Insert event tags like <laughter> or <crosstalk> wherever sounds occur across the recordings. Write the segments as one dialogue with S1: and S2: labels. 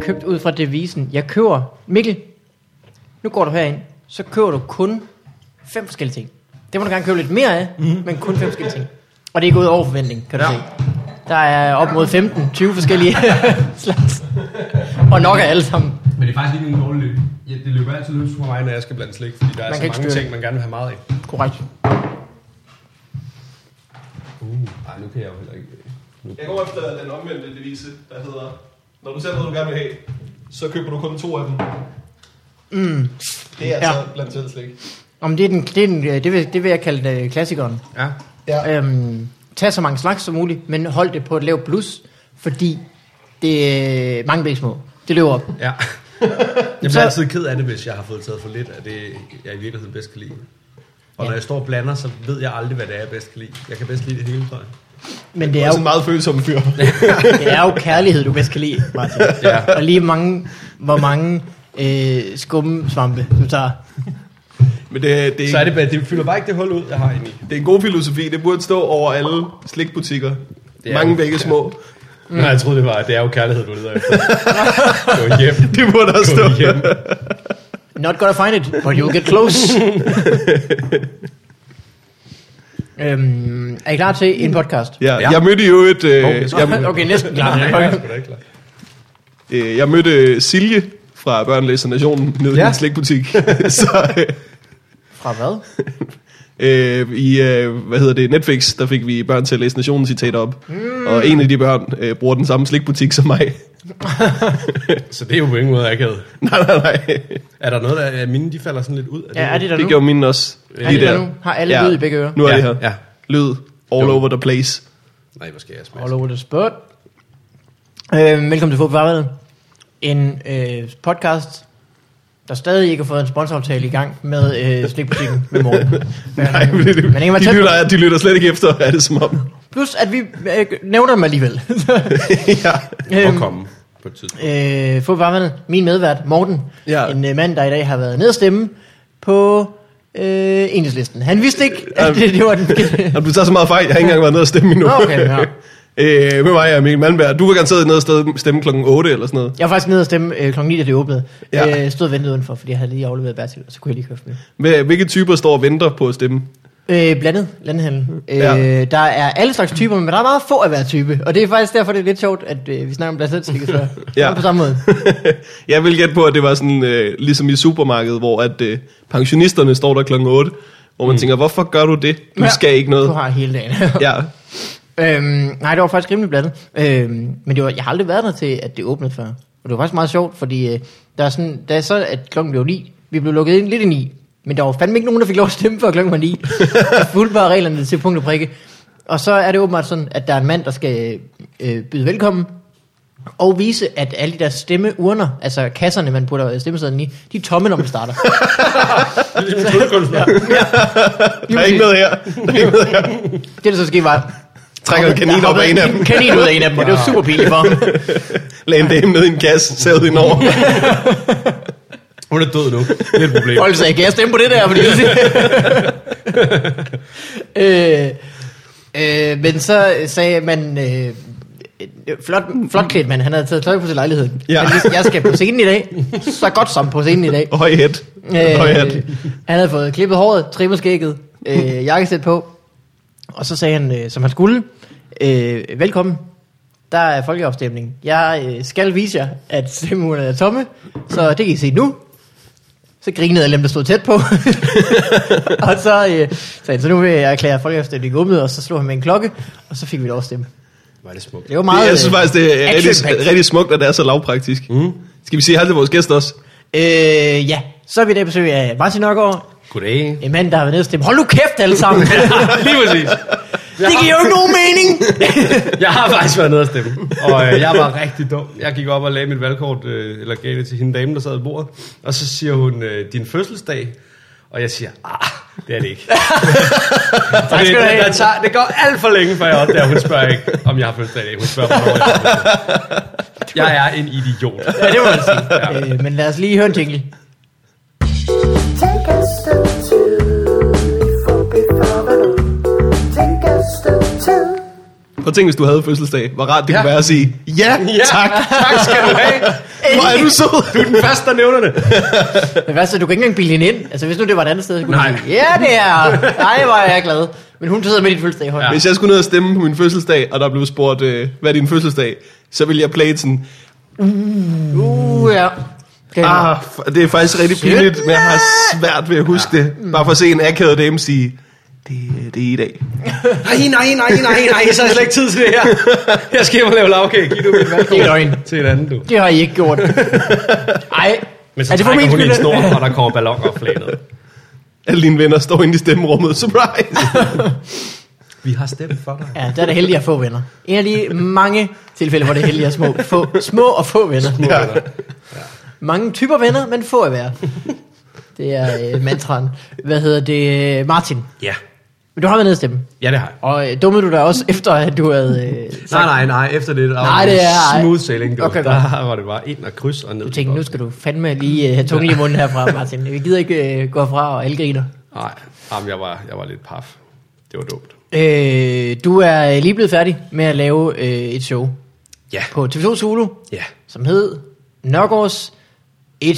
S1: købt ud fra devisen, jeg køber, Mikkel, nu går du herind, så køber du kun fem forskellige ting. Det må du gerne købe lidt mere af, mm. men kun fem forskellige ting. Og det er gået over forventning, kan du ja. se. Der er op mod 15-20 forskellige slags. Og nok af alle sammen.
S2: Men det er faktisk ikke en dårlig løb. Ja, det løber altid løs for mig, når jeg skal blande slik, fordi der er
S1: Man
S2: så
S1: kan ikke
S2: mange
S1: styre
S2: ting, man gerne vil have meget af.
S1: Korrekt.
S2: Uh, ej, nu kan jeg jo heller ikke.
S3: Jeg går efter den omvendte devise, der hedder, når du ser noget, du gerne vil have, så køber du kun to af dem.
S1: Mm.
S3: Det er
S1: Ja.
S3: altså blandt selv slik.
S1: Om det, er den, det, er den, øh, det, vil, det vil jeg kalde øh, klassikeren.
S2: Ja.
S3: Ja.
S1: Øhm, tag så mange slags som muligt, men hold det på et lavt plus, fordi det mange bliver små. Det løber op.
S2: <laughs> Ja. Jeg
S1: Så-
S2: bliver altid ked af det, hvis jeg har fået taget for lidt af det, jeg i virkeligheden bedst kan lide. Og
S1: Ja.
S2: når jeg står og blander, så ved jeg aldrig, hvad det er, jeg bedst kan lide. Jeg kan bedst lide det hele, tror jeg.
S1: Men det
S3: Jeg
S1: er
S3: er også
S1: jo,
S3: en meget følsom
S2: <laughs>
S3: fyr.
S1: det er jo kærlighed, du bedst kan lide, Martin.
S2: Ja.
S1: Og lige mange, hvor mange øh, skumsvampe, du tager.
S3: Men det, det,
S2: Så er det, bare- det fylder bare ikke det hul ud, jeg har inde i.
S3: det er en god filosofi. Det burde stå over alle slikbutikker.
S2: Det er
S3: Mange
S2: jo-
S3: begge små.
S2: Mm. Nej, jeg troede, det var, det er jo kærlighed, du leder <laughs> efter. Gå hjem.
S3: Det burde der stå.
S2: Gå hjem.
S1: Not gonna find it, but you'll get
S3: <laughs>
S1: close. øhm, er I klar til en podcast?
S3: Ja,
S2: Ja.
S3: Jeg mødte jo et... Øh,
S2: Okay, så-
S3: jeg,
S1: Okay, næsten
S2: Nej, jeg er
S1: klar.
S2: sgu <laughs> da ikke klar.
S3: øh, jeg mødte Silje fra Børnelæser Nationen nede ja. i
S2: Ja.
S3: en slikbutik. <laughs> så øh,
S1: Fra hvad?
S3: øh, i, øh, hvad hedder det, Netflix, der fik vi børn til at læse Nationen citater op. Mm. Og en af de børn øh, bruger den samme slikbutik som mig. <laughs>
S2: Så det er jo på ingen måde akavet.
S3: nej, nej, nej.
S2: Er der noget, der er mine, de falder sådan lidt ud? Er
S1: Ja, er det der
S3: Det
S1: nu?
S3: gjorde mine også.
S1: Er det der nu? Har alle lyd i begge ører?
S3: Nu er
S2: ja,
S3: det her.
S2: Ja.
S3: Lyd all
S2: Jo.
S3: over the place.
S2: Nej, hvor skal jeg smage?
S1: All over the spot. Øh, velkommen til Fodboldvarvet. En øh, podcast, der stadig ikke har fået en sponsoraftale i gang med øh, slikbutikken med morgen.
S3: <laughs> Nej, men det,
S1: men ikke var
S3: de,
S1: tæt på.
S3: lytter, de lytter slet ikke efter, er det som om.
S1: Plus at vi øh, nævner dem alligevel.
S3: ja.
S2: Må
S1: øhm,
S2: komme på et tidspunkt.
S1: øh, Fodboldvarvet, min medvært Morten,
S3: Ja.
S1: en øh, mand, der i dag har været nede at stemme på øh, enhedslisten. Han vidste ikke, at
S3: Øhm.
S1: det, det var den...
S3: Jamen, du tager så meget fejl, jeg har ikke engang været nede og stemme endnu.
S1: Nå, okay, ja.
S3: <laughs> øh, med mig er Mikkel Malmberg. Du var garanteret nede og sted- stemme klokken 8 eller sådan noget.
S1: <laughs> Jeg var faktisk nede og stemme øh, klokken 9, da det åbnede.
S3: Ja.
S1: Ja. Øh, stod og ventede udenfor, fordi jeg havde lige afleveret Bertil, og så kunne jeg lige køre med.
S3: Hvad- Hvilke typer står og venter på at stemme?
S1: Øh, blandet landhandel. Øh,
S3: Ja.
S1: ja. Der er alle slags typer, men der er meget få af hver type. Og det er faktisk derfor, det er lidt sjovt, at øh, vi snakker om blandt selv slikket før.
S3: Ja.
S1: ja. på samme måde.
S3: <laughs> jeg vil gætte på, at det var sådan, øh, ligesom i supermarkedet, hvor at, øh, pensionisterne står der klokken 8. Hvor man mm. tænker, hvorfor gør du det? Du ja.
S1: Ja.
S3: skal ikke
S1: Du
S3: noget.
S1: har hele dagen. <laughs>
S3: Ja,
S1: øhm, nej, det var faktisk rimelig blandet. Øhm, men det var, jeg har aldrig været der til, at det åbnede før. Og det var faktisk meget sjovt, fordi øh, der er sådan, da så, at klokken blev 9, vi blev lukket ind lidt i 9, men der var fandme ikke nogen, der fik lov at stemme før klokken var 9. Jeg fulgte bare reglerne til punkt og prikke. Og så er det åbenbart sådan, at der er en mand, der skal øh, byde velkommen, og vise, at alle de der stemmeurner, altså kasserne, man putter stemmesedlen i, de er tomme, når man starter.
S2: <laughs> Det er en tryllekunstner.
S3: der er ikke noget her. Der er ikke noget her.
S1: Det, der så skete, var...
S3: Trækker en
S1: Der
S3: kanin op
S1: hoppede
S3: af en af dem.
S1: kanin ud af en af dem, og det var super pinligt for ham.
S3: Lagde en dame ned i en kasse, sad hende
S1: <laughs>
S3: over.
S2: Hun er død nu. Det er et problem.
S1: Folk sagde, kan jeg stemme på det der? Fordi øh, øh, men så sagde man, øh, flot, flot klædt mand, han havde taget tøj på til lejligheden.
S3: Ja.
S1: Ja. Han vidste, jeg skal på scenen i dag, så godt som på scenen i dag.
S3: Høj hat. Høj hat.
S1: Øh, han havde fået klippet håret, trimmet skægget,
S3: <laughs>
S1: øh, jakkesæt på, og så sagde han, øh, som han skulle, øh, velkommen, der er folkeafstemning. Jeg øh, skal vise jer, at stemmeurnerne er tomme, så det kan I se nu. Så grinede alle dem, der stod tæt
S3: <laughs>
S1: på. og så øh, sagde han, så nu vil jeg erklære folkeafstemningen åbnet, og så slog han med en klokke, og så fik vi lov at stemme.
S2: Var det smukt.
S1: Det var meget...
S3: Det, jeg synes
S1: øh,
S3: faktisk, det er rigtig,
S1: action-packed.
S3: rigtig smukt, at det er så lavpraktisk. Mm. Skal vi sige hej til vores gæster også?
S1: Øh, ja, så er vi i dag besøg af Martin Nørgaard,
S2: Goddag.
S1: en mand, der har været nede og stemme. Hold nu kæft alle sammen!
S2: Lige præcis.
S1: Det giver jo ikke nogen mening.
S2: Jeg har faktisk været nede og stemme. Og øh, jeg var rigtig dum. Jeg gik op og lagde mit valgkort, øh, eller gav det til hende dame, der sad ved bordet. Og så siger hun, øh, din fødselsdag. Og jeg siger, ah, det er det ikke. <laughs> tak
S1: skal du have.
S2: Det, tager, det går alt for længe, før jeg opdager, hun spørger ikke, om jeg har fødselsdag i dag. Hun spørger, hvornår jeg har fødselsdag. Jeg er en idiot.
S1: ja, det må man sige. Ja. <laughs> Øh, men lad os lige høre en jingle.
S4: Take a step two before before the Take a step two.
S3: Prøv at tænke, hvis du havde fødselsdag. Hvor rart det ja.
S2: Ja.
S3: kunne være at sige, ja, ja. tak.
S2: tak skal du have.
S3: Hvor er du sød.
S1: <laughs>
S2: Du er den første, der nævner det.
S1: Men hvad så, du kan ikke engang bilde hende ind. Altså, hvis nu det var et andet sted, så kunne
S2: Nej.
S1: du sige, ja, det er. Nej, hvor er jeg glad. Men hun sidder med dit fødselsdag i hånden.
S3: Hvis jeg skulle ned og stemme på min fødselsdag, og der blev spurgt, øh, hvad er din fødselsdag, så ville jeg plage sådan,
S1: Ja. Uh, ja. Okay.
S3: ah, f- det er faktisk rigtig
S1: Shit,
S3: pinligt, men jeg har svært ved at huske det. Bare for at se en akavet dame sige, det, øh, det er i dag.
S2: Nej, nej, nej, nej, nej, så har jeg slet ikke tid til det her. Jeg skal hjem og lave lavkage. Giv du mit
S1: Det er
S2: valgkort
S1: løgn.
S2: til et andet, du.
S1: Det har I ikke gjort. Nej.
S2: Men så trækker hun en snor, og der kommer balloner og flag ned.
S3: Alle dine venner står inde i
S1: <laughs>
S3: stemmerummet. Surprise!
S2: Vi har stemt for dig.
S1: Ja, der er det heldigt at få venner. En af de mange tilfælde, hvor det er heldigt at små, få, små og få venner.
S2: Ja.
S1: Mange typer venner, men få at
S2: <laughs>
S1: være. Det er øh, mantraen. Hvad hedder det? Martin.
S2: ja.
S1: Men du har været nede at stemme.
S2: Ja, det har jeg.
S1: Og øh, dummede du dig også efter, at du havde... Øh,
S2: Nej, nej, nej. Efter det, der
S1: Nej,
S2: var
S1: det
S2: det
S1: er-
S2: er... smooth sailing, du.
S1: Okay,
S2: Okay, der var det bare ind og kryds og ned.
S1: du tænkte, nu skal du fandme lige øh, have tungen i munden
S2: <laughs>
S1: herfra, Martin. Vi gider ikke øh, gå fra og alle griner.
S2: Nej, jamen, jeg, var, jeg var lidt paf. Det var dumt.
S1: Øh, du er lige blevet færdig med at lave øh, et show
S2: Ja.
S1: på TV2 Zulu,
S2: Ja.
S1: som hed Nørgaards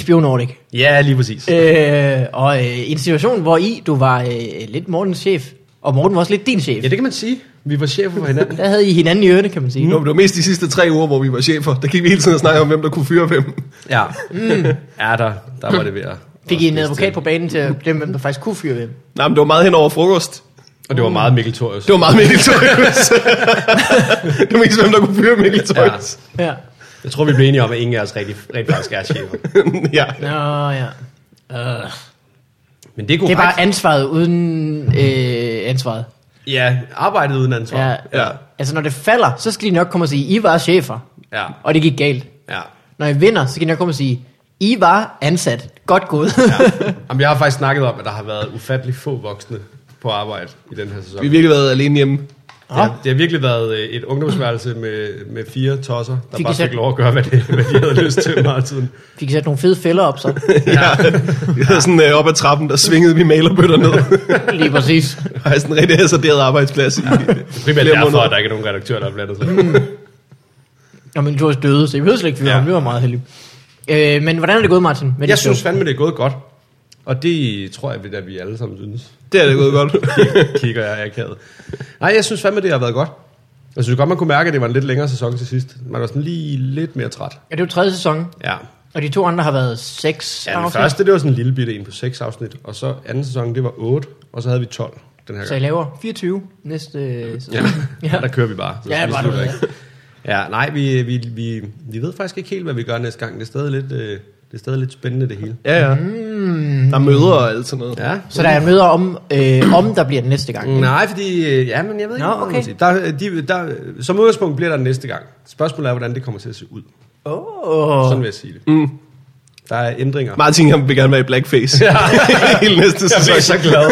S1: HBO Nordic.
S2: Ja, lige præcis.
S1: Øh, og øh, en situation, hvor I, du var øh, lidt Mortens chef, og Morten var også lidt din chef.
S2: Ja, det kan man sige. Vi var chefer for hinanden.
S1: Der havde I hinanden i ørene, kan man sige.
S2: Mm.
S3: Nå, men det var mest de sidste tre uger, hvor vi var chefer. Der gik vi hele tiden og snakkede om, hvem der kunne fyre hvem.
S2: Ja. Mm. Ja, der, der var det ved at...
S1: Fik I en
S2: at
S1: advokat
S2: spidse
S1: på banen til at bestemme, hvem der faktisk kunne fyre hvem.
S3: Nej, men det var meget hen over frokost.
S2: til. Og det var meget Mikkel Thorius.
S3: Det var meget Mikkel
S1: <laughs>
S3: Tøjhus. det var mest, hvem der kunne fyre Mikkel Tøjhus. <laughs>
S1: Ja.
S2: Jeg tror, vi blev enige om, at ingen af os rigtig, rigtig faktisk er chefer.
S3: ja.
S1: Nå, ja. Uh,
S2: Men det er
S1: det
S2: korrekt.
S1: er bare ansvaret uden øh, ansvaret.
S2: Ja, arbejdet uden ansvar.
S1: Ja.
S3: Ja.
S1: Altså, når det falder, så skal de nok komme og sige, I var chefer,
S2: Ja,
S1: og det gik galt.
S2: ja.
S1: Når I vinder, så skal de nok komme og sige, I var ansat. Godt gået.
S2: ja. Jamen, jeg har faktisk snakket om, at der har været ufattelig få voksne på arbejde i den her sæson.
S3: Vi har virkelig været alene hjemme.
S2: Ja, det har virkelig været øh, et ungdomsværelse med, med fire tosser, der
S1: Fik I
S2: bare
S1: selv-
S2: fik lov at gøre, hvad, det, hvad de havde lyst til meget af tiden.
S1: <laughs> Fik I sat nogle fede fælder
S2: <laughs>
S1: op, så.
S3: Ja. Vi var sådan øh, op ad trappen, der svingede vi malerbøtter
S1: <laughs>
S3: ned.
S1: Lige præcis.
S3: Det var sådan en rigtig hasarderet arbejdsplads. I,
S2: Primært
S3: flere
S2: derfor,
S3: måneder.
S2: at der ikke er nogen redaktør, der er blandet sig.
S1: Og min Thors døde, så jeg behøver slet ikke fyre
S2: Ja.
S1: ja. ham. Det var meget heldig. Øh, men hvordan er det gået, Martin? Med
S2: Jeg
S1: dit show?
S2: synes fandme, det er gået godt. Og det tror jeg, at vi alle sammen synes.
S3: Det er det gået godt.
S2: <laughs> Kigger jeg akavet. Nej, jeg synes fandme, det har været godt. Jeg synes godt, man kunne mærke, at det var en lidt længere sæson til sidst. Man var sådan lige lidt mere træt.
S1: Ja, det er jo tredje sæson,
S2: Ja,
S1: og de to andre har været seks
S2: ja den første, det var sådan en lille bitte en på seks afsnit. Og så anden sæson, det var 8, og så havde vi 12 den her
S1: Så I
S2: gang.
S1: laver 24 næste øh, sæson.
S2: Ja,
S1: Ja.
S2: <laughs> ja. der kører vi bare. Så
S1: Ja,
S2: vi
S1: bare
S2: slutter
S1: det,
S2: ikke. Ja, nej, vi, vi, vi, vi ved faktisk ikke helt, hvad vi gør næste gang. Det er stadig lidt, øh, det er stadig lidt spændende, det hele.
S3: Ja, ja. Der er møder og alt sådan noget.
S2: Ja.
S1: Så der er møder om, øh, om der bliver den næste gang.
S2: Nej, fordi... øh, Ja, men jeg ved
S1: Nå,
S2: ikke, hvad man
S1: okay.
S2: siger. der, øh, de, der, Som udgangspunkt bliver der den næste gang. Spørgsmålet er, hvordan det kommer til at se ud.
S1: Oh.
S2: Sådan vil jeg sige det. Mm. Der er ændringer.
S3: Martin han vil gerne være i blackface. Ja. <laughs> Hele næste sæson.
S2: glad.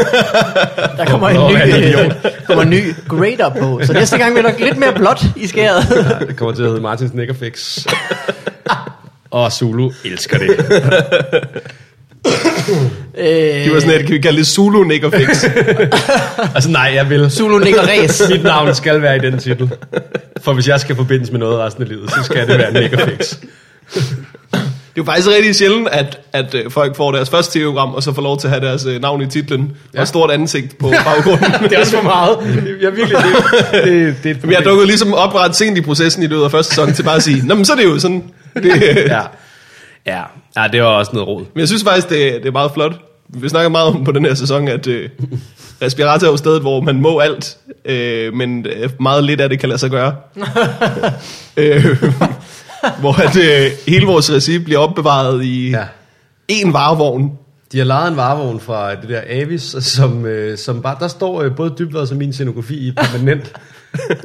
S1: Der kommer en
S2: Nå,
S1: ny,
S2: ja, idiot.
S1: øh, <laughs> kommer en ny grader på. Så næste gang bliver nok lidt mere blåt i skæret.
S2: <laughs> ja, det kommer til at hedde Martins <laughs> Nickerfix. Og Zulu elsker det.
S1: Øh,
S3: Det var sådan, at kan vi kalde det Zulu Nick Fix?
S2: Altså nej, jeg vil.
S1: Zulu nikker ræs.
S2: Mit navn skal være i den titel. For hvis jeg skal forbindes med noget resten af livet, så skal det være Nickerfix.
S3: Det er jo faktisk rigtig sjældent, at, at øh, folk får deres første tv-program, og så får lov til at have deres øh, navn i titlen, ja. og et stort ansigt på baggrunden.
S2: Det er også for meget. Jeg virkelig, det, <laughs> det, det er et
S3: Men jeg dukkede ligesom op ret sent i processen i løbet af første sæson til bare at sige, Nå, men så er det jo sådan. Det, ja.
S2: <laughs> Ja. Ja. ja, det var også noget råd.
S3: Men jeg synes faktisk, det, det er meget flot. Vi snakker meget om på den her sæson, at øh, respirator er jo stedet, hvor man må alt, øh, men øh, meget lidt af det kan lade sig gøre. øh, hvor at, øh, hele vores recipe bliver opbevaret i
S2: Ja.
S3: én varevogn.
S2: De har lejet en varevogn fra det der Avis, som, øh, som bare, der står øh, både dybvad som min scenografi i <laughs> permanent,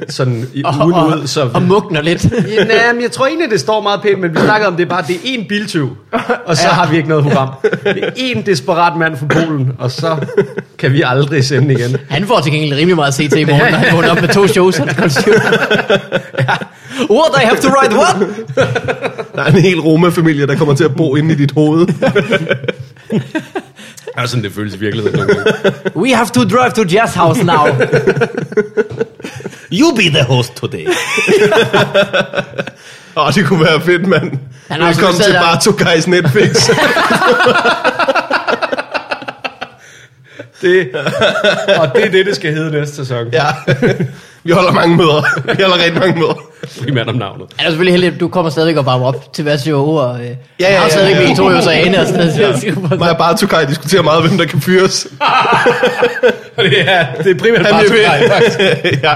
S2: sådan i
S1: Og,
S2: ugen
S1: og,
S2: ud, så...
S1: og mugner lidt.
S2: Ja, nej, men jeg tror egentlig, det står meget pænt, men vi snakkede om, det er bare, det er én biltyv, og så ja. har vi ikke noget program. Det er én desperat mand fra Polen, og så kan vi aldrig sende igen.
S1: Han får til gengæld rimelig meget CT i morgen, når han vågner op med to shows. Han skal sige, What, I have to write what?
S3: Der er en hel Roma-familie, der kommer til at bo inde i dit hoved.
S2: Det er sådan, det føles i virkeligheden nogle gange.
S1: We have to drive to Jazz House now.
S2: You be the host today.
S3: Åh, det kunne være fedt, mand.
S1: Han har også
S3: Velkommen til
S1: siddet der-
S3: Barto Guys
S1: <laughs>
S3: Netflix.
S2: Det, og det er det, det skal hedde næste sæson. Ja.
S3: ja. Vi holder mange møder. Vi holder rigtig mange møder.
S2: Primært om navnet. <laughs>
S1: Han er selvfølgelig heldig, at du kommer stadigvæk og varmer op til hver show, og øh, ja, ja,
S3: ja,
S1: har
S3: ja,
S1: stadigvæk
S3: ja.
S1: ja, ja. to jo så ane og sådan noget.
S3: Mig og Barto Guy diskuterer meget, hvem der kan fyres.
S2: Det er, det er primært
S3: Han
S2: bare
S3: bliver
S2: til dig, faktisk.
S3: ved, ja.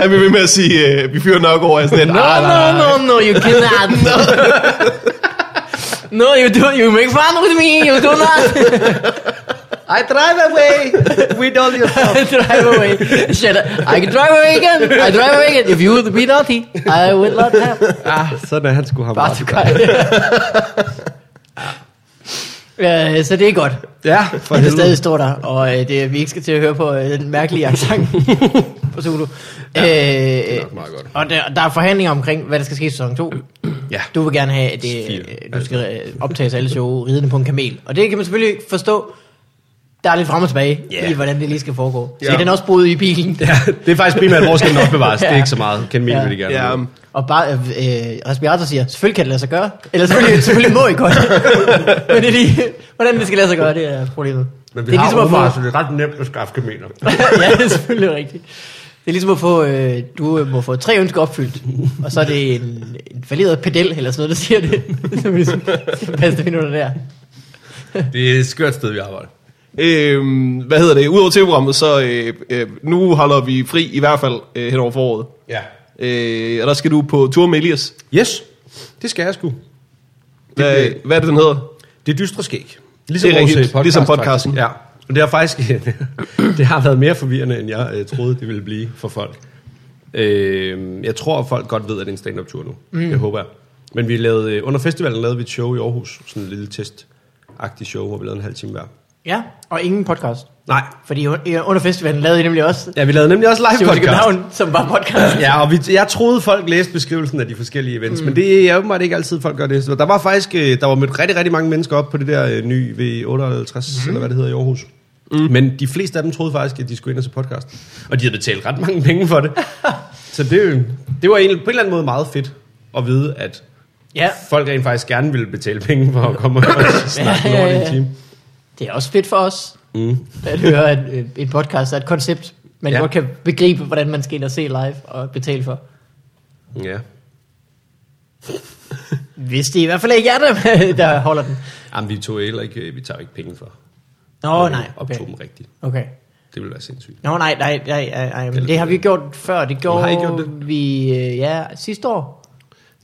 S3: Han bliver ved med at sige, øh, vi fyrer nok over. Jeg er Sådan et,
S1: No,
S3: "Ah,
S1: no,
S3: nej."
S1: no, no, you
S2: <laughs>
S1: cannot. no. no, you do, you make fun with me, you do not.
S2: I drive away with all your stuff.
S1: <laughs> drive away. Shut up. I can drive away again. I drive away again. If you would be naughty, I will not have.
S2: Ah, sådan er han skulle have
S1: Bare
S2: meget.
S1: til kaj.
S2: <laughs>
S1: Ja, Øh, så det er godt.
S2: Ja, for
S1: For det
S2: helvede.
S1: stadig står der, og øh, det, er- vi ikke skal til at høre på øh, den mærkelige accent på Zulu. Ja, øh, det er
S2: nok meget godt.
S1: Og der, der er forhandlinger omkring, hvad der skal ske i sæson 2.
S2: Ja.
S1: Du vil gerne have, at det,
S2: Fire,
S1: øh, du
S2: altså.
S1: skal øh, optages alle show ridende på en kamel. Og det kan man selvfølgelig forstå. Der er lidt frem og tilbage
S2: Ja.
S1: yeah. i, hvordan det lige skal foregå. Så
S2: Ja.
S1: yeah. den er også boet i bilen.
S2: Ja, det er faktisk primært, hvor skal den opbevares. Det er ikke så meget. Kan min
S1: Ja.
S2: vil de gerne.
S3: Ja,
S2: Ja.
S1: Og bare, øh, øh, respirator siger, selvfølgelig kan det lade sig gøre. Eller selvfølgelig, selvfølgelig må I
S2: <laughs>
S1: godt. Men det er lige, hvordan det skal lade sig gøre, det er problemet.
S2: Men vi
S1: det er
S2: har
S1: ligesom at
S2: Omar,
S1: få,
S2: så det er ret nemt at skaffe kameler.
S1: <laughs> ja, det er selvfølgelig rigtigt. Det er ligesom at få, øh, du øh, må få tre ønsker opfyldt, og så er det en, en valideret pedel eller sådan noget, der siger det. <laughs> Så vi ligesom skal passe det ind under der.
S2: <laughs> Det er et skørt sted, vi arbejder.
S3: Øhm, hvad hedder det? Udover tv-programmet, så øh, øh, nu holder vi fri i hvert fald øh, hen over foråret.
S2: Ja.
S3: Øh, og der skal du på tur med Elias.
S2: Yes, det skal jeg sgu.
S3: Hvad,
S2: Det-
S3: hvad er det, den hedder?
S2: Det dystre skæg. Ligesom,
S3: Det er
S2: vores,
S3: rigtigt.
S2: øh, podcast,
S3: Ligesom podcasten.
S2: faktisk. Ja. Men det har faktisk øh, <laughs> det har været mere forvirrende, end jeg øh, troede, det ville blive for folk. Øh, jeg tror, at folk godt ved, at det er en stand-up-tur nu. Mm. Det håber jeg. Men vi lavede, øh, under festivalen lavede vi et show i Aarhus. Sådan en lille test-agtig show, hvor vi lavede en halv time hver.
S1: Ja, og ingen podcast.
S2: Nej.
S1: Fordi un- under festivalen lavede I nemlig også
S2: Ja, vi lavede nemlig også live
S1: Sjovt
S2: podcast.
S1: København, som var
S2: <laughs>
S1: podcast.
S2: Ja, og vi, jeg troede, folk læste beskrivelsen af de forskellige events, mm. men det er åbenbart ikke altid, folk gør det. Så der var faktisk øh, der var mødt rigtig, rigtig mange mennesker op på det der øh, nye V58, mm. eller hvad det hedder i Aarhus. Mm. Men de fleste af dem troede faktisk, at de skulle ind og se podcast. Og de havde betalt ret mange penge <laughs> for det. så det, øh, det var egentlig, på en eller anden måde meget fedt at vide, at
S1: Ja,
S2: folk rent faktisk gerne ville betale penge for at komme <laughs> og snakke ja, ja, ja. en time.
S1: det er også fedt for os mm. at høre, at øh, en podcast er et koncept, man
S2: Ja.
S1: ja. godt kan begribe, hvordan man skal ind og se live og betale for.
S2: Ja.
S1: Hvis det i hvert fald ikke er dem, der <laughs> holder den.
S2: Jamen, vi tog heller ikke, øh, vi tager ikke penge for.
S1: Nå,
S2: at øh,
S1: nej. Okay.
S2: Optog dem rigtigt.
S1: okay.
S2: Det ville være sindssygt.
S1: Nå, nej, nej, nej, nej, nej men det har vi gjort før. Det gjorde
S2: Har I gjort det?
S1: vi, øh, ja, sidste år.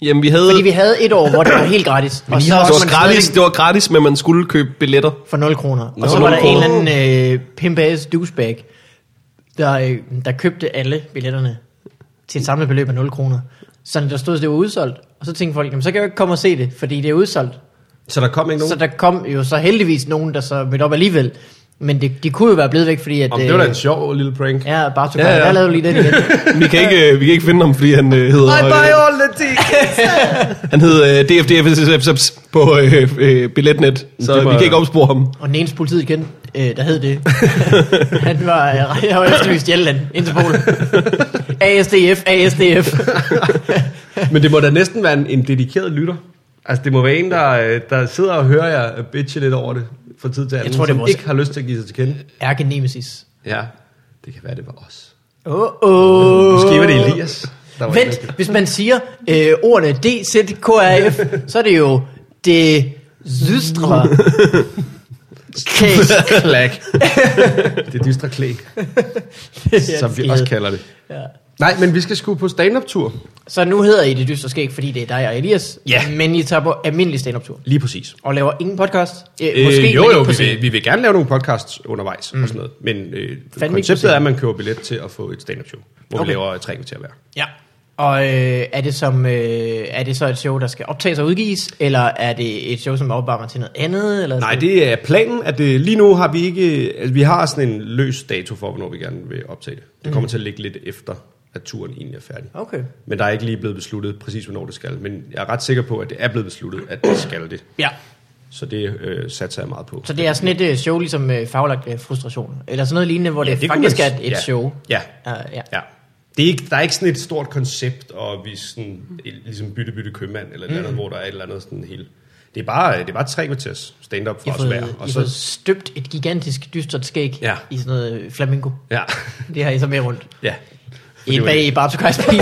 S3: Jamen, vi havde...
S1: Fordi vi havde et år, hvor det var helt gratis.
S3: Men I
S1: så
S3: har, det,
S1: måtte
S3: var
S1: man
S3: gratis,
S1: stadig
S3: det var gratis, men man skulle købe billetter.
S1: For 0 kroner.
S3: Nå,
S1: Og så var der
S3: 0
S1: en eller anden øh, pimpass douchebag, der, øh, der købte alle billetterne til et samlet beløb af 0 kroner. Så der stod, at det var udsolgt. Og så tænkte folk, jamen, så kan jeg jo ikke komme og se det, fordi det er udsolgt.
S2: Så der kom ikke nogen?
S1: Så der kom jo så heldigvis nogen, der så mødte op alligevel. Men det, de kunne jo være blevet væk, fordi at... øh,
S2: Om det var da en sjov lille prank.
S1: Ja, bare så
S3: Ja,
S1: ja,
S3: ja.
S1: ja. der lavede du lige den igen.
S3: Vi kan ikke, øh, vi kan ikke finde ham, fordi han øh, hedder... øh,
S2: all the tickets.
S3: han hedder øh, DFDFSFSFS på øh, øh, billetnet, så
S2: Det var-
S3: vi kan ikke opspore ham.
S1: Og den eneste politiet igen, øh, der hed det. han var, øh, han var efterlyst i alle lande, Interpol. ASDF, ASDF.
S2: Men det må da næsten være en, en dedikeret lytter. Altså, det må være en, der, øh, der sidder og hører jer bitche lidt over det fra tid til anden,
S1: tror, det
S2: som
S1: er vores-
S2: ikke har lyst til at give sig til kende.
S1: Ergenemesis.
S2: Ja, det kan være, det var os.
S1: Åh, oh, oh.
S2: Måske var det Elias. Der var en,
S1: Vent, hvis man siger øh, ordene DZKRF, så er det jo det zystre.
S2: <laughs>
S1: Kæs.
S2: der- Klæk. det dystre klæk, som vi også kalder det.
S1: Ja.
S2: Nej, men vi skal sgu på stand-up-tur.
S1: Så nu hedder I det dystre skæg, fordi det er dig og Elias.
S2: Ja.
S1: Men I tager på almindelig stand-up-tur.
S2: Lige præcis.
S1: Og laver ingen podcast. Øh, måske,
S2: Øh, Måske, jo,
S1: men
S2: jo,
S1: ikke på
S2: vi
S1: scenen.
S2: vil, vi vil gerne lave nogle podcasts undervejs mm. og sådan noget. Men øh,
S1: ikke på
S2: konceptet
S1: scenen.
S2: er, at man køber billet til at få et stand-up show, hvor okay.
S1: Okay.
S2: vi laver tre kvarter hver.
S1: Ja. Og øh, er, det som, øh, er det så et show, der skal optages og udgives, eller er det et show, som opvarmer til noget andet? Eller
S2: Nej,
S1: sådan?
S2: det er planen, at det, lige nu har vi ikke... Altså, vi har sådan en løs dato for, hvornår vi gerne vil optage det. Det
S1: Mm.
S2: kommer til at ligge lidt efter, at turen egentlig er færdig.
S1: Okay.
S2: Men der er ikke lige blevet besluttet præcis, hvornår det skal. Men jeg er ret sikker på, at det er blevet besluttet, at det skal det.
S1: Ja.
S2: Så det øh, satser jeg meget på.
S1: Så det er sådan et øh, show, ligesom øh, faglagt øh, frustration, eller sådan noget lignende, hvor ja, det,
S2: kunne
S1: faktisk
S2: man-
S1: er et, et
S2: ja.
S1: show.
S2: Ja.
S1: Uh, ja.
S2: ja. Det er ikke, der er ikke sådan et stort koncept, og vi er sådan, et- ligesom bytte, bytte købmand, eller et
S1: Mm.
S2: eller andet, hvor der er et eller andet sådan helt... Det er bare, det er bare tre kvarters stand-up
S1: I
S2: for
S1: har
S2: os hver.
S1: fået,
S2: Og
S1: I har fået
S2: så,
S1: støbt et gigantisk dystert skæg
S2: Ja.
S1: i sådan noget øh, flamingo.
S2: ja,
S1: Det har I så med rundt.
S2: ja.
S1: I
S2: det var
S1: bag
S2: det.
S1: i Bartokajs
S2: <laughs>
S1: bil.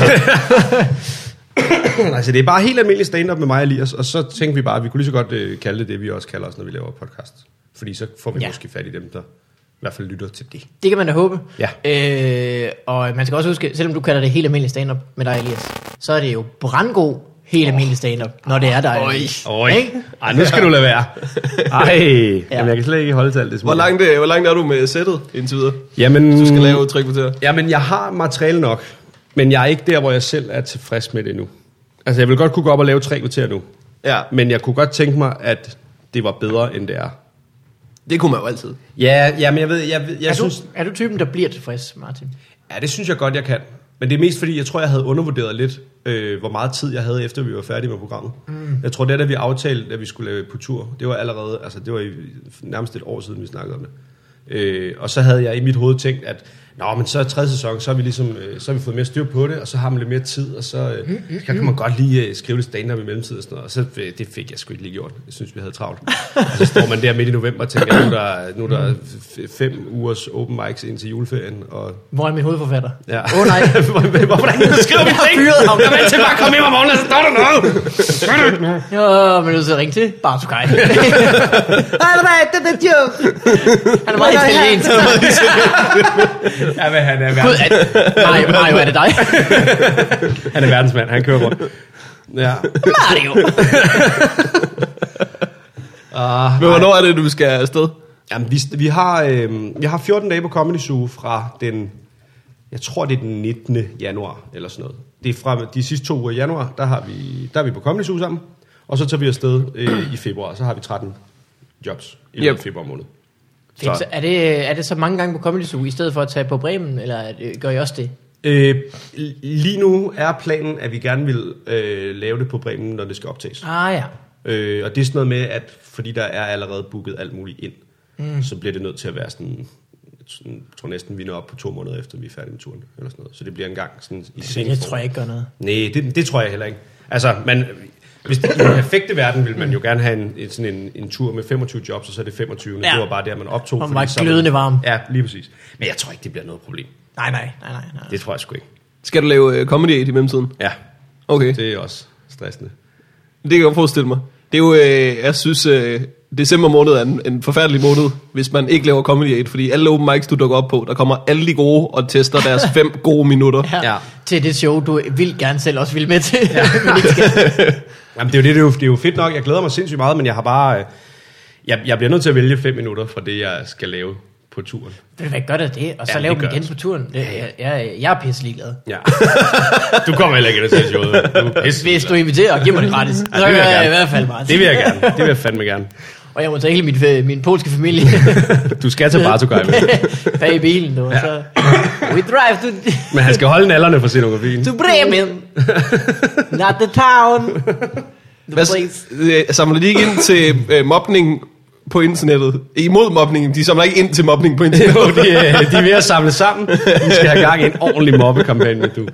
S2: altså, det er bare helt almindelig stand-up med mig og Elias, og så tænkte vi bare, at vi kunne lige så godt øh, kalde det det, vi også kalder os, når vi laver podcast. Fordi så får vi
S1: Ja.
S2: ja. måske fat i dem, der i hvert fald lytter til det.
S1: Det kan man da håbe.
S2: Ja.
S1: Øh, og man skal også huske, selvom du kalder det helt almindelig stand-up med dig, Elias, så er det jo brandgod helt almindelig stand-up, når det er dig. Elias.
S2: Oj.
S1: Ikke?
S2: Ej, nu skal du lade være. <laughs> Ej, ja. jeg kan slet ikke holde til alt det
S3: Hvor
S2: små.
S3: langt, øh, hvor langt er du med sættet indtil videre?
S2: Jamen,
S3: Du skal lave tre kvarter.
S2: Jamen, jeg har materiale nok, men jeg er ikke der, hvor jeg selv er tilfreds med det nu. Altså, jeg vil godt kunne gå op og lave tre kvarter nu,
S3: Ja,
S2: men jeg kunne godt tænke mig, at det var bedre, end det er.
S3: det kunne man jo altid.
S2: Ja, ja men jeg ved, jeg, ved, jeg
S1: Er du,
S2: synes...
S1: er du typen, der bliver tilfreds, Martin?
S2: Ja, det synes jeg godt, jeg kan. Men det er mest fordi, jeg tror, jeg havde undervurderet lidt, øh, hvor meget tid jeg havde, efter vi var færdige med programmet. Mm. Jeg tror, det er, da vi aftalte, at vi skulle lave på tur. Det var allerede, altså det var i, nærmest et år siden, vi snakkede om det. Øh, og så havde jeg i mit hoved tænkt, at Nå, men så er tredje sæson, så har vi ligesom, øh, så har vi fået mere styr på det, og så har man lidt mere tid, og så øh, så kan man godt lige øh, skrive lidt stand-up i mellemtiden og sådan noget. Og så øh, det fik jeg sgu ikke lige gjort. Jeg synes, vi havde travlt. og så står man der midt i november og tænker, nu er der, nu er der f- f- fem ugers open mics indtil juleferien, og
S1: Hvor er min hovedforfatter?
S2: Ja.
S1: Åh oh, nej.
S2: Hvorfor er der ingen, der <laughs> skriver mit
S1: Jeg har
S2: ting?
S1: fyret ham.
S2: Jeg vil altid bare komme hjem om morgenen, og så står der noget. Gør det ikke.
S1: Nå, men du skal ringe til <laughs> Bartokaj. Nej, nej, det er joke. Han er meget
S2: <laughs>
S1: italiensk.
S2: Ja, men han er,
S1: Gud,
S2: verdens,
S1: er,
S2: <laughs>
S1: Mario, Mario, er det <laughs> dig?
S2: han er verdensmand. Han kører rundt. Ja.
S1: Mario.
S3: Men hvornår er det, du skal afsted?
S2: Jamen, vi, vi, har, øh, vi har 14 dage på Comedy Zoo fra den, jeg tror det er den 19. januar, eller sådan noget. Det er fra de sidste to uger i januar, der, har vi, der er vi på Comedy Zoo sammen. Og så tager vi afsted øh, i februar, så har vi 13 jobs i
S3: Yep.
S2: yep. februar måned.
S1: Fedt, så er, det, er det så mange gange på Comedy Zoo, i stedet for at tage på Bremen, eller er det- gør I også det?
S2: Øh, lige nu er planen, at vi gerne vil øh, lave det på Bremen, når det skal optages.
S1: Ah ja.
S2: Øh, og det er sådan noget med, at fordi der er allerede booket alt muligt ind, mm. så bliver det nødt til at være sådan, sådan jeg tror næsten, vi når op på to måneder efter, vi er færdige med turen, eller sådan noget. Så det bliver en gang sådan i
S1: Altså, Det,
S2: sen
S1: det tror jeg ikke gør noget.
S2: Nej, det, det tror jeg heller ikke. Altså, man, hvis det, i den perfekte verden ville man jo gerne have en, en, sådan en, en tur med 25 jobs, og så er det 25. Ja.
S1: Ja.
S2: Det var bare der, man optog.
S1: Og
S2: fordi
S1: var
S2: så man-
S1: glødende varm.
S2: Ja, lige præcis. Men jeg tror ikke, det bliver noget problem.
S1: Nej, nej, nej, nej. nej.
S2: Det tror jeg sgu ikke.
S3: Skal du lave øh, comedy i mellemtiden?
S2: Ja,
S3: Okay, det
S2: det er også stressende.
S3: kan jeg godt forestille mig. Det er jo, øh, jeg synes, øh, december måned er en, en forfærdelig måned, hvis man ikke laver comedy aid, fordi alle open mics, du dukker op på, der kommer alle de gode og tester <laughs> deres fem gode minutter.
S1: Ja.
S2: Ja.
S1: Til det show, du vil gerne selv også vil med til. Ja. <laughs> men ikke skal.
S2: <laughs> Jamen, det er, jo det, det, er jo, det er jo fedt nok. Jeg glæder mig sindssygt meget, men jeg har bare... øh, Jeg, jeg bliver nødt til at vælge fem minutter fra det, jeg skal lave på turen.
S1: Ved du hvad, gør der det, og så ja,
S2: Ja, det
S1: lav dem
S2: gør
S1: igen
S2: jeg.
S1: på turen. Det, jeg, jeg, jeg er pisse ligeglad.
S2: Ja. <laughs> Du kommer heller ikke ind til showet. Du er
S1: Hvis
S2: pisse
S1: du
S2: ligeglad.
S1: inviterer og giver mig det gratis, så
S2: Ja, det vil jeg
S1: gør jeg i
S2: gerne.
S1: hvert fald meget.
S2: Det vil jeg gerne. Det vil jeg fandme gerne.
S1: Og jeg må tage hele min, fa- min polske familie
S2: <laughs> Du skal tage Bartogaj med.
S1: <laughs> bag i bilen, du, og
S2: Ja.
S1: så... We drive to,
S2: Men han skal holde nallerne for scenografien.
S1: to Bremen. Not the town. The
S3: Hvad,
S1: place.
S3: øh, samler de ikke ind til øh, mobning på internettet? Imod mobningen, de samler ikke ind til mobning på
S2: Jo,
S3: <laughs>
S2: <laughs>
S3: internettet.
S2: de, øh, de er ved at samle sammen. Vi skal have gang i en ordentlig mobbekampagne, du.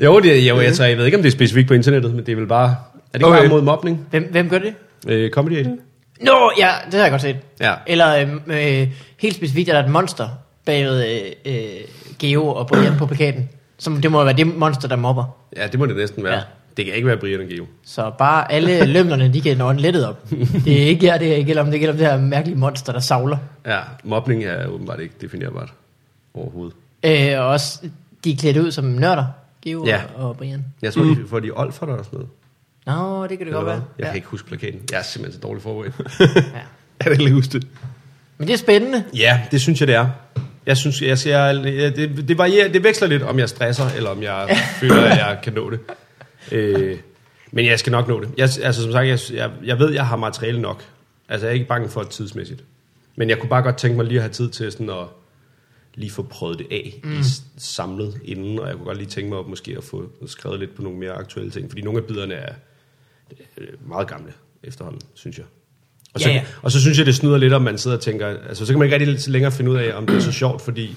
S2: Jo, det, jo jeg, tror, jeg ved ikke, om det er specifikt på internettet, men det er vel bare... Er det ikke
S3: Okay.
S2: okay. bare mod mobning?
S1: Hvem, hvem gør det?
S2: Øh, comedy Aid?
S1: Nå, ja, det har jeg godt set.
S2: Ja.
S1: Eller øhm, øh, helt specifikt er der et monster bagved øh, øh, Geo og Brian på plakaten. Som, det må være det monster, der mobber.
S2: Ja, det må det næsten være.
S1: Ja.
S2: Ja. Det kan ikke være Brian og Geo.
S1: Så bare alle
S2: <laughs>
S1: lømlerne, de kan ordne lettet op. Det er ikke jer, det her gælder om. Det gælder om det her mærkelige monster, der savler.
S2: Ja, mobning er åbenbart ikke definerbart overhovedet.
S1: Øh, og også, de er klædt ud som nørder. Geo ja.
S2: Ja.
S1: og Brian.
S2: Jeg tror, mm. de får de olfert og sådan noget.
S1: Nå, det kan det godt
S2: Eller hvad?
S1: være.
S2: Jeg
S1: ja.
S2: kan ikke huske plakaten. Jeg er simpelthen så dårlig forberedt.
S1: <laughs> Ja.
S3: Jeg kan ikke huske det.
S1: Men det er spændende.
S2: ja, det synes jeg, det er. Jeg synes, jeg ser, ja, det, det, varierer, det veksler lidt, om jeg stresser, eller
S1: <laughs>
S2: om jeg føler, at jeg kan nå det. Øh, men jeg skal nok nå det. Jeg, altså, som sagt, jeg, jeg, jeg ved, jeg har materiale nok. Altså, jeg er ikke bange for det tidsmæssigt. Men jeg kunne bare godt tænke mig lige at have tid til sådan at lige få prøvet det af mm. samlet inden, og jeg kunne godt lige tænke mig at måske at få skrevet lidt på nogle mere aktuelle ting, fordi nogle af biderne er øh, meget gamle efterhånden, synes jeg. Og så,
S1: Ja, ja.
S2: og så synes jeg, det snyder lidt, om man sidder og tænker, altså så kan man ikke rigtig længere finde ud af, om det er så sjovt, fordi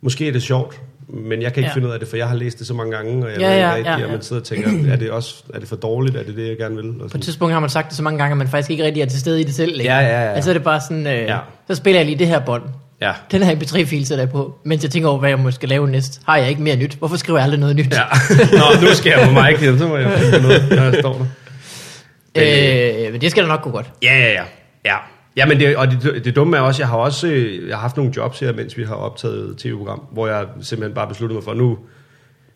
S2: måske er det sjovt, Men jeg kan ikke
S1: Ja.
S2: ja. finde ud af det, for jeg har læst det så mange gange, og jeg
S1: Ja,
S2: ja, ved ikke
S1: ja,
S2: ja, rigtigt,
S1: ja,
S2: og
S1: ja.
S2: man sidder og tænker, er det, også, er det for dårligt? Er det det, jeg gerne vil? Og
S1: På
S2: sådan.
S1: et tidspunkt har man sagt det så mange gange, at man faktisk ikke rigtig er til stede i det selv længere.
S2: Ja, ja, ja.
S1: Altså er det bare sådan, øh, ja.
S2: Ja.
S1: så spiller jeg lige det her bånd.
S2: Ja.
S1: Den her MP3-fil sætter jeg på, mens jeg tænker over, hvad jeg måske lave næst. Har jeg ikke mere nyt? Hvorfor skriver jeg aldrig noget nyt?
S2: ja. <laughs> Nå, nu skal jeg på mig igen, så må jeg finde på noget, når jeg står der.
S1: Øh, men det skal da nok gå godt.
S2: Ja, ja, ja. ja. Ja, men det, og det, det dumme er også, jeg har også øh, jeg har haft nogle jobs her, mens vi har optaget tv-program, hvor jeg simpelthen bare besluttede mig for, nu,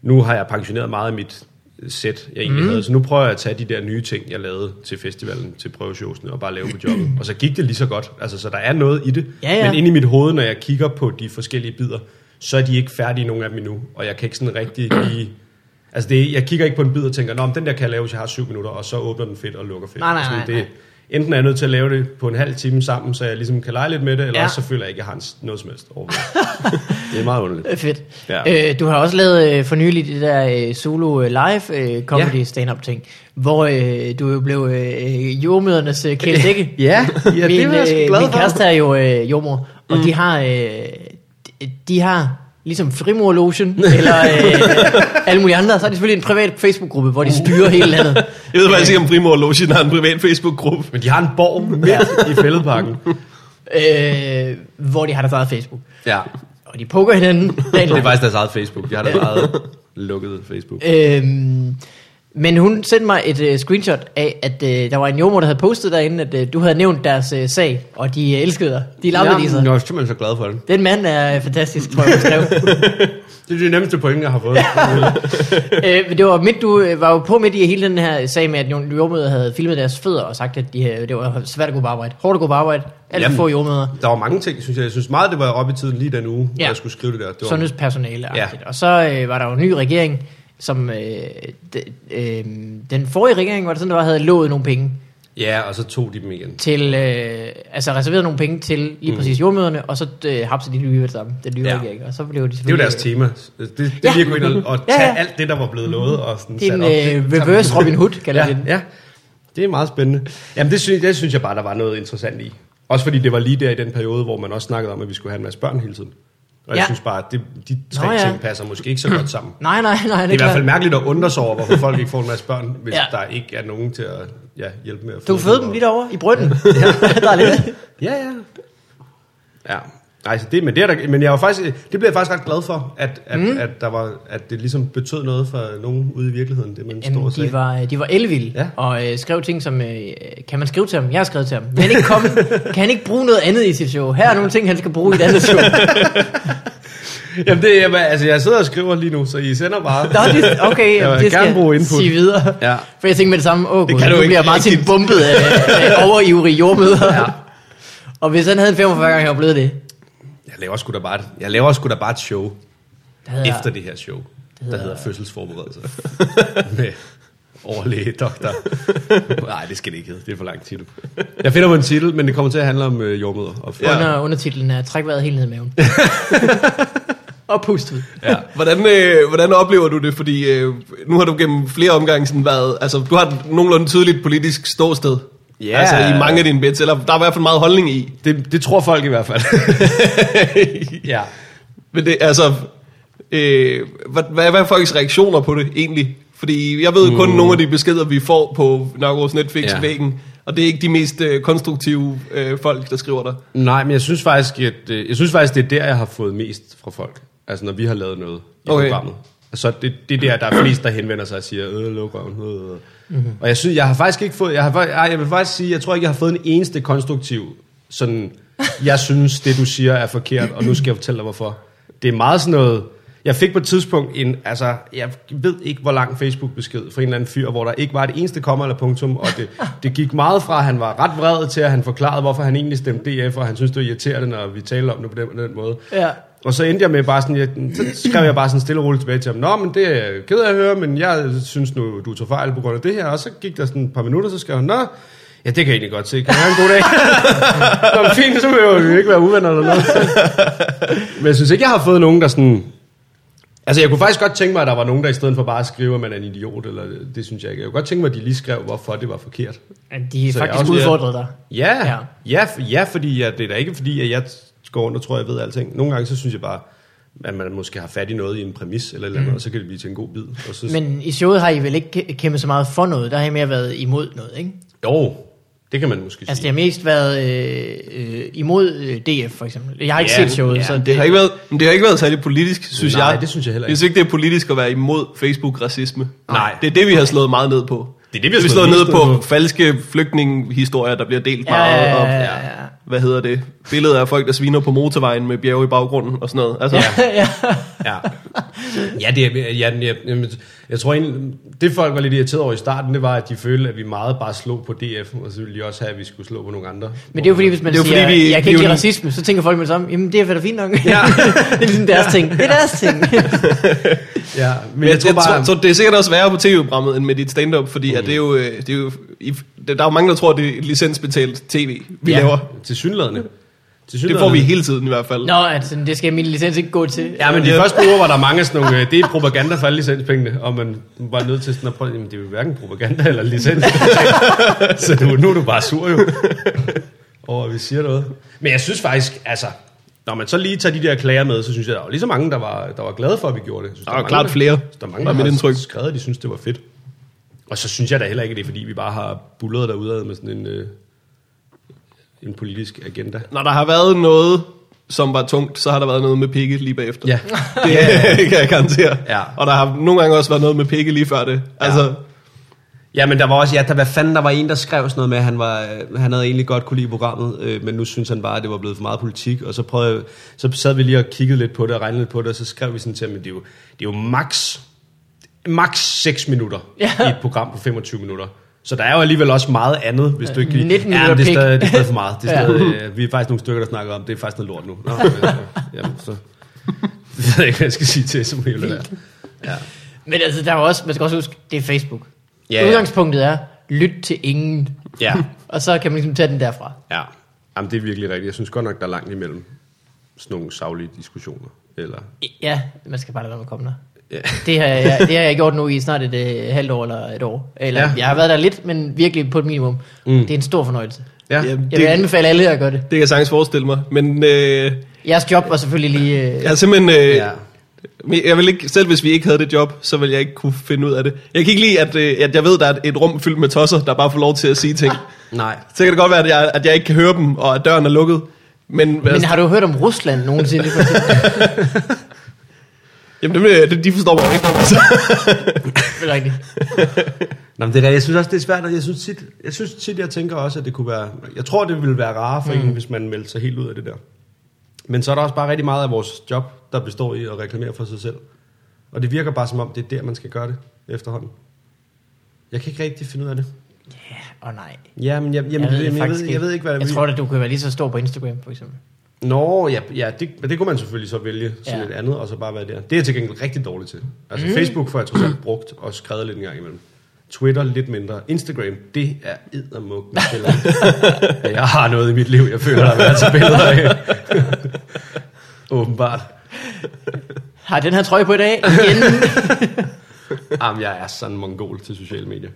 S2: nu har jeg pensioneret meget af mit sæt, jeg
S1: Mhm.
S2: egentlig mm. havde. Så nu prøver jeg at tage de der nye ting, jeg lavede til festivalen, til prøveshowsene, og bare lave på
S1: <clears throat>
S2: jobbet. og så gik det lige så godt. Altså, så der er noget i det.
S1: Ja, ja.
S2: Men inde i mit hoved, når jeg kigger på de forskellige bidder, så er de ikke færdige, nogen af dem endnu. Og jeg kan ikke sådan
S1: <clears throat>
S2: rigtig lige... Altså, det, er- jeg kigger ikke på en bid og tænker, Nå, men den der kan jeg lave, hvis jeg har syv minutter, og så åbner den fedt og lukker fedt.
S1: Nej, nej,
S2: Sådan,
S1: nej,
S2: det,
S1: nej.
S2: Enten er jeg nødt til at lave det på en halv time sammen, så jeg ligesom kan lege lidt med det, eller
S1: Ja.
S2: ja. også så føler jeg ikke, at jeg har en s- noget som helst overblik. <laughs> det er meget underligt.
S1: Øh, fedt. Ja.
S2: Ja.
S1: Øh, du har også lavet øh, for nylig det der øh, solo øh, live øh, comedy ja.
S2: Ja.
S1: stand-up ting, hvor øh, du jo blev øh, jordmødernes øh, kæledække.
S2: <laughs> <laughs> Ja, ja
S1: min,
S2: det var jeg sgu
S1: øh,
S2: glad
S1: Min
S2: for.
S1: kæreste er jo øh, jordmor, og mm. de har... Øh, de, de har ligesom
S2: <laughs>
S1: frimurlogen, eller øh, alle mulige andre, så er de selvfølgelig en privat Facebook-gruppe, hvor de
S2: Mm.
S1: styrer hele landet.
S3: Jeg ved faktisk ikke, om Primor Lotion har en privat Facebook-gruppe.
S2: Men de har en borg midt i <laughs> fældeparken.
S1: Øh, hvor de har deres eget Facebook.
S2: Ja,
S1: Og de pukker hinanden. dagen
S2: <laughs> det er
S1: lang.
S2: faktisk deres eget Facebook. De har deres eget
S1: <laughs>
S2: lukkede Facebook.
S1: Øhm, men hun sendte mig et øh, screenshot af, at øh, der var en jordmor, der havde postet derinde, at øh, du havde nævnt deres øh, sag, og de øh, elskede dig. De lappede i
S2: jeg
S1: sig.
S2: er simpelthen så glad for det.
S1: Den mand er øh, fantastisk, tror jeg, hun skrev.
S2: <laughs> Det er det nemmeste point, jeg har fået. <laughs>
S1: øh, men det var midt, du øh, var jo på midt i hele den her sag med, at nogle jordmøder havde filmet deres fødder og sagt, at de, øh, det var svært at gå på arbejde. Hårdt at gå på arbejde. Alt for
S2: Jamen.
S1: få jordmøder.
S2: Der var mange ting, synes jeg. Jeg synes meget, det var oppe i tiden lige den uge,
S1: Ja.
S2: ja. jeg skulle skrive det der. Det var,
S1: Sundhedspersonale. Ja.
S2: Ja.
S1: Og så øh, var der jo en ny regering, som øh, de, øh, den forrige regering var det sådan, der var, havde lovet nogle penge.
S2: Ja, og så tog de dem igen.
S1: til, øh, altså reserveret nogle penge til lige præcis jordmøderne, og så øh, hapser de lige ved det samme, den nye
S2: Mm. Ja.
S1: ja. regering, og så blev de
S2: Det var
S1: selvfølgelig...
S2: deres tema. Det, det
S1: Ja.
S2: ja. lige at gå ind og, og
S1: Øh. Ja, ja.
S2: tage ja, ja. alt det, der var blevet lovet og sådan
S1: Det er
S2: sat
S1: en
S2: op. Det-
S1: øh, reverse Robin
S2: <laughs>
S1: Hood, kalder ja.
S2: ja,
S1: det.
S2: ja, det er meget spændende. Jamen, det synes, det synes jeg bare, der var noget interessant i. Også fordi det var lige der i den periode, hvor man også snakkede om, at vi skulle have en masse børn hele tiden. Og jeg
S1: Ja.
S2: synes bare, at det, de tre
S1: Nå,
S2: Nå,
S1: ja.
S2: ja. ting passer måske ikke så godt
S1: <clears throat>
S2: sammen. Det
S1: Nej, nej, nej, det
S2: er i
S1: er
S2: hvert fald
S1: klart.
S2: mærkeligt at undre sig over, hvorfor folk ikke får en masse børn, hvis
S1: Ja.
S2: ja. der ikke er nogen til at ja, hjælpe med at
S1: Du fødte dem lige derovre i
S2: <laughs>
S1: brønden. der er lidt.
S2: Ja, ja. Ja. Nej, så det, men, det er der, men jeg var faktisk, det blev jeg faktisk ret glad for, at, at, mm. at, der var, at det ligesom betød noget for nogen ude i virkeligheden, det man står
S1: Jamen,
S2: og
S1: de
S2: sagde.
S1: var, øh, de var elvilde, ja.
S2: Ja.
S1: og øh, skrev ting som, øh, kan man skrive til ham? Jeg har skrevet til ham. Kan han ikke komme? kan han ikke bruge noget andet i sit show? Her er nogle ting, han skal bruge i et andet show.
S2: Jamen, det, jeg, altså, jeg sidder og skriver lige nu, så I sender bare.
S1: Nå, det, okay,
S2: Jeg vil
S1: det skal
S2: gerne bruge input.
S1: sige videre.
S2: Ja.
S1: For jeg tænkte med det samme, åh gud,
S2: kan
S1: nu
S2: du ikke
S1: bliver Martin
S2: rigtigt.
S1: bumpet af, af overivrig jordmøder. Ja.
S2: Ja.
S1: Og hvis han havde en 45 gange, han var blevet det.
S2: Jeg laver sgu da bare, et- jeg laver sgu da bare et show
S1: Der havde jeg-
S2: efter det her show, der hedder <laughs> Fødselsforberedelse. Med overlæge, doktor. Nej, det skal det ikke hedde. Det er for lang titel. Jeg finder på en titel, men det kommer til at handle om øh, jordmøder. Og
S3: Ja.
S1: Under, undertitlen er Træk vejret helt ned i
S2: <laughs>
S1: maven. og pust ud.
S2: ja.
S3: Hvordan, øh, hvordan oplever du det? Fordi øh, nu har du gennem flere omgange sådan været... Altså, du har et nogenlunde tydeligt politisk ståsted.
S2: Ja.
S3: Altså, i mange af dine bits. Eller der er i hvert fald meget holdning i.
S2: Det, det tror folk i hvert fald. <laughs> ja.
S3: Men det, altså... Øh, hvad, hvad, hvad er folks reaktioner på det egentlig? Fordi jeg ved kun nogle af de beskeder, vi får på Narcos
S2: Mm. Ja.
S3: Netflix-væggen. Og det er ikke de mest øh, konstruktive øh, folk, der skriver der.
S2: Nej, men jeg synes faktisk, at, øh, jeg synes faktisk, det er der, jeg har fået mest fra folk. Altså, når vi har lavet noget i
S3: Okay.
S2: okay. programmet. Så det, det er der, der er flest, der henvender sig og siger, øh, luk røven. Øh, øh. Mm-hmm. Og jeg synes, jeg har faktisk ikke fået, jeg, har, fa- ej, jeg vil faktisk sige, jeg tror ikke, jeg har fået en eneste konstruktiv, sådan, jeg synes, det du siger er forkert, og nu skal jeg fortælle dig, hvorfor. Det er meget sådan noget, jeg fik på et tidspunkt en, altså, jeg ved ikke, hvor lang Facebook-besked fra en eller anden fyr, hvor der ikke var et eneste komma eller punktum, og det, det gik meget fra, at han var ret vred til, at han forklarede, hvorfor han egentlig stemte DF, og han synes, det var irriterende, når vi taler om det på den, den måde.
S1: Ja.
S2: Og så endte jeg med bare sådan, jeg, så skrev jeg bare sådan stille og roligt tilbage til ham, Nå, men det er jeg ked af at høre, men jeg synes nu, du tog fejl på grund af det her. Og så gik der sådan et par minutter, så skrev han, Nå, ja, det kan jeg egentlig godt se. Kan jeg have en god dag? Nå, men fint, så behøver vi jo ikke være uvenner eller noget. Men jeg synes ikke, jeg har fået nogen, der sådan... Altså, jeg kunne faktisk godt tænke mig, at der var nogen, der i stedet for bare at skrive, at man er en idiot, eller det synes jeg ikke. Jeg kunne godt tænke mig, at de lige skrev, hvorfor det var forkert.
S1: At de
S2: Så jeg
S1: faktisk
S2: også-
S1: udfordrede dig.
S2: Ja,
S1: Ja.
S2: ja. ja, f- ja fordi jeg, det er da ikke fordi, at jeg går rundt og tror, at jeg ved alting. Nogle gange, så synes jeg bare, at man måske har fat i noget i en præmis eller et eller andet, mm. og så kan det blive til en god bid. Og så,
S1: Men i showet har I vel ikke kæ- kæmpet så meget for noget, der har I mere været imod noget, ikke?
S2: jo, det kan man måske
S1: Altså det
S2: sige.
S1: har mest været øh, øh, imod øh, DF for eksempel. Jeg har ikke
S2: Ja,
S1: set showet,
S2: ja,
S1: så
S3: Det har ikke været, men det har ikke været særlig politisk, synes
S2: Nej,
S3: jeg.
S2: det synes jeg heller ikke.
S3: Jeg synes ikke, det er politisk at være imod Facebook-racisme.
S2: Nej.
S3: Det er det, vi har slået meget ned på.
S2: Det er det, vi har
S3: vi
S2: slået
S3: slået ned
S2: mest ned
S3: på. Falske flygtningehistorier, der bliver delt
S1: Ja,
S3: meget.
S1: ja,
S3: Og,
S1: ja, ja, <laughs> ja.
S3: Hvad hedder det? Billeder af folk, der sviner på motorvejen med bjerge i baggrunden og sådan noget. Altså, ja.
S2: Ja, ja, det, er- ja den- jeg, jeg, jeg tror egentlig, det folk var lidt irriteret over i starten, det var, at de følte, at vi meget bare slog på DF, og så ville de også have, at vi skulle slå på nogle andre.
S1: Men det er jo fordi, hvis man
S3: Det er jo
S1: siger,
S3: fordi, vi-
S1: jeg
S3: vi
S1: kan ikke
S3: er jo
S1: lide
S3: den-
S1: racisme, så tænker folk med det samme, jamen det er da fint nok. Ja. <laughs> det er ligesom deres
S3: <laughs>
S1: ting. Det er deres ting. <laughs>
S2: Ja, men,
S3: Men jeg, jeg, tror,
S2: bare...
S3: jeg tror, det er sikkert også værre på tv-programmet end med dit stand-up, fordi mm. at det er jo, øh, det er jo i, der er jo mange, der tror, det er licensbetalt tv, vi ja. laver.
S2: Til synlædende.
S3: Det får vi hele tiden i hvert fald.
S1: Nå, altså, det skal min licens ikke gå til.
S2: Ja, men de
S3: Ja.
S2: første uger var der mange sådan nogle, øh, det er propaganda for alle licenspengene, og man var nødt til sådan at prøve, jamen det er jo hverken propaganda eller licens. <laughs> så du, nu er du bare sur jo, over at vi siger noget. Men jeg synes faktisk, altså, når man så lige tager de der klager med, så synes jeg, der var lige så mange, der var, der var glade for, at vi gjorde det. Jeg Synes,
S3: Der var klart flere.
S2: Der, der er mange, der
S3: Var mit
S2: har
S3: indtryk.
S2: skrevet, at de synes, det var fedt. Og så synes jeg da heller ikke, at det er fordi, vi bare har bullet derude med sådan en, øh, en politisk agenda.
S3: Når der har været noget, som var tungt, så har der været noget med pikke lige bagefter. <laughs>
S2: Ja.
S3: Det kan jeg garantere.
S2: Ja.
S3: Og der har nogle gange også været noget med pikke lige før det. Altså,
S5: Ja, men der var også, ja, der, hvad fanden, der var en, der skrev sådan noget med, at han, var, øh, han havde egentlig godt kunne lide programmet, øh, men nu synes han bare, at det var blevet for meget politik, og så, prøvede, jeg-
S2: så sad vi lige og kiggede lidt på det og regnede lidt på det, og så skrev vi sådan til ham, at det er jo, det er jo max, max 6 minutter
S1: Ja.
S2: ja. i et program på 25 minutter. Så der er jo alligevel også meget andet, hvis du ikke kan...
S1: 19
S2: ja, men det er,
S1: minutter pik.
S2: stadig, det er stadig for meget. Det er
S1: Ja.
S2: stadig, øh, vi er faktisk nogle stykker, der snakker om, det er faktisk noget lort nu. Nå, ja, jamen, så <laughs> jeg ved ikke, hvad jeg skal sige til, som hele det der.
S1: Men altså, der er jo også, man skal også huske, det er Facebook.
S2: Ja, ja.
S1: Udgangspunktet er, lyt til ingen.
S2: Ja,
S1: Og så kan man ligesom tage den derfra.
S2: ja. Jamen, det er virkelig rigtigt. Jeg synes godt nok, der er langt imellem sådan nogle savlige diskussioner. Eller,
S1: Ja, man skal bare lade være med at komme der.
S2: ja.
S1: Det har, jeg, det har jeg gjort nu i snart et øh, halvt år eller et år. Eller, ja.
S2: Ja.
S1: Jeg har været der lidt, men virkelig på et minimum. Mm. Det er en stor fornøjelse.
S2: Ja.
S3: ja,
S1: Jeg vil
S3: det,
S1: anbefale alle at gøre det.
S3: det kan jeg sagtens forestille mig. Men øh,
S1: Jeres job var selvfølgelig lige... Øh,
S3: jeg har simpelthen... Øh,
S2: Ja.
S3: men Jeg vil ikke, selv hvis vi ikke havde det job, så ville jeg ikke kunne finde ud af det. Jeg kan ikke lide, at, øh, at jeg ved, der er et rum fyldt med tosser, der bare får lov til at sige ting.
S2: Nej.
S3: Så kan det godt være, at jeg, at jeg ikke kan høre dem, og at døren er lukket. Men,
S1: Men
S3: altså,
S1: har du hørt om Rusland nogensinde?
S2: <laughs>
S3: jamen, dem, øh, de- de forstår mig jo ikke. Så,
S1: Det er rigtigt.
S2: Nå, men det er, rigtigt. jeg synes også, det er svært, og jeg synes, tit, jeg synes tit, jeg tænker også, at det kunne være... Jeg tror, det ville være rarere for mm. en, hvis man meldte sig helt ud af det der. Men så er der også bare rigtig meget af vores job, der består i at reklamere for sig selv. Og det virker bare som om, det er der, man skal gøre det efterhånden. Jeg kan ikke rigtig finde ud af det.
S1: Åh oh, nej.
S2: Ja, men jeg, jamen, jeg, ved, jeg, jeg, ved, jeg ved ikke, hvad
S1: Jeg tror at du kunne være lige så stor på Instagram, for eksempel.
S2: Nå, ja, ja det, men det kunne man selvfølgelig så vælge
S1: Ja.
S2: sådan ja. et andet, og så bare være der. Det er jeg til gengæld rigtig dårlig til. Altså mm. Facebook får jeg trods alt brugt og skrevet lidt en gang imellem. Twitter lidt mindre. Instagram, det er eddermuk med
S1: <laughs>
S2: billeder. Ja, jeg har noget i mit liv, jeg føler, der har været til billeder af. <laughs> Åbenbart.
S1: Har den her trøje på i
S2: <laughs>
S1: dag? Igen?
S2: Jamen, jeg er sådan mongol til sociale medier.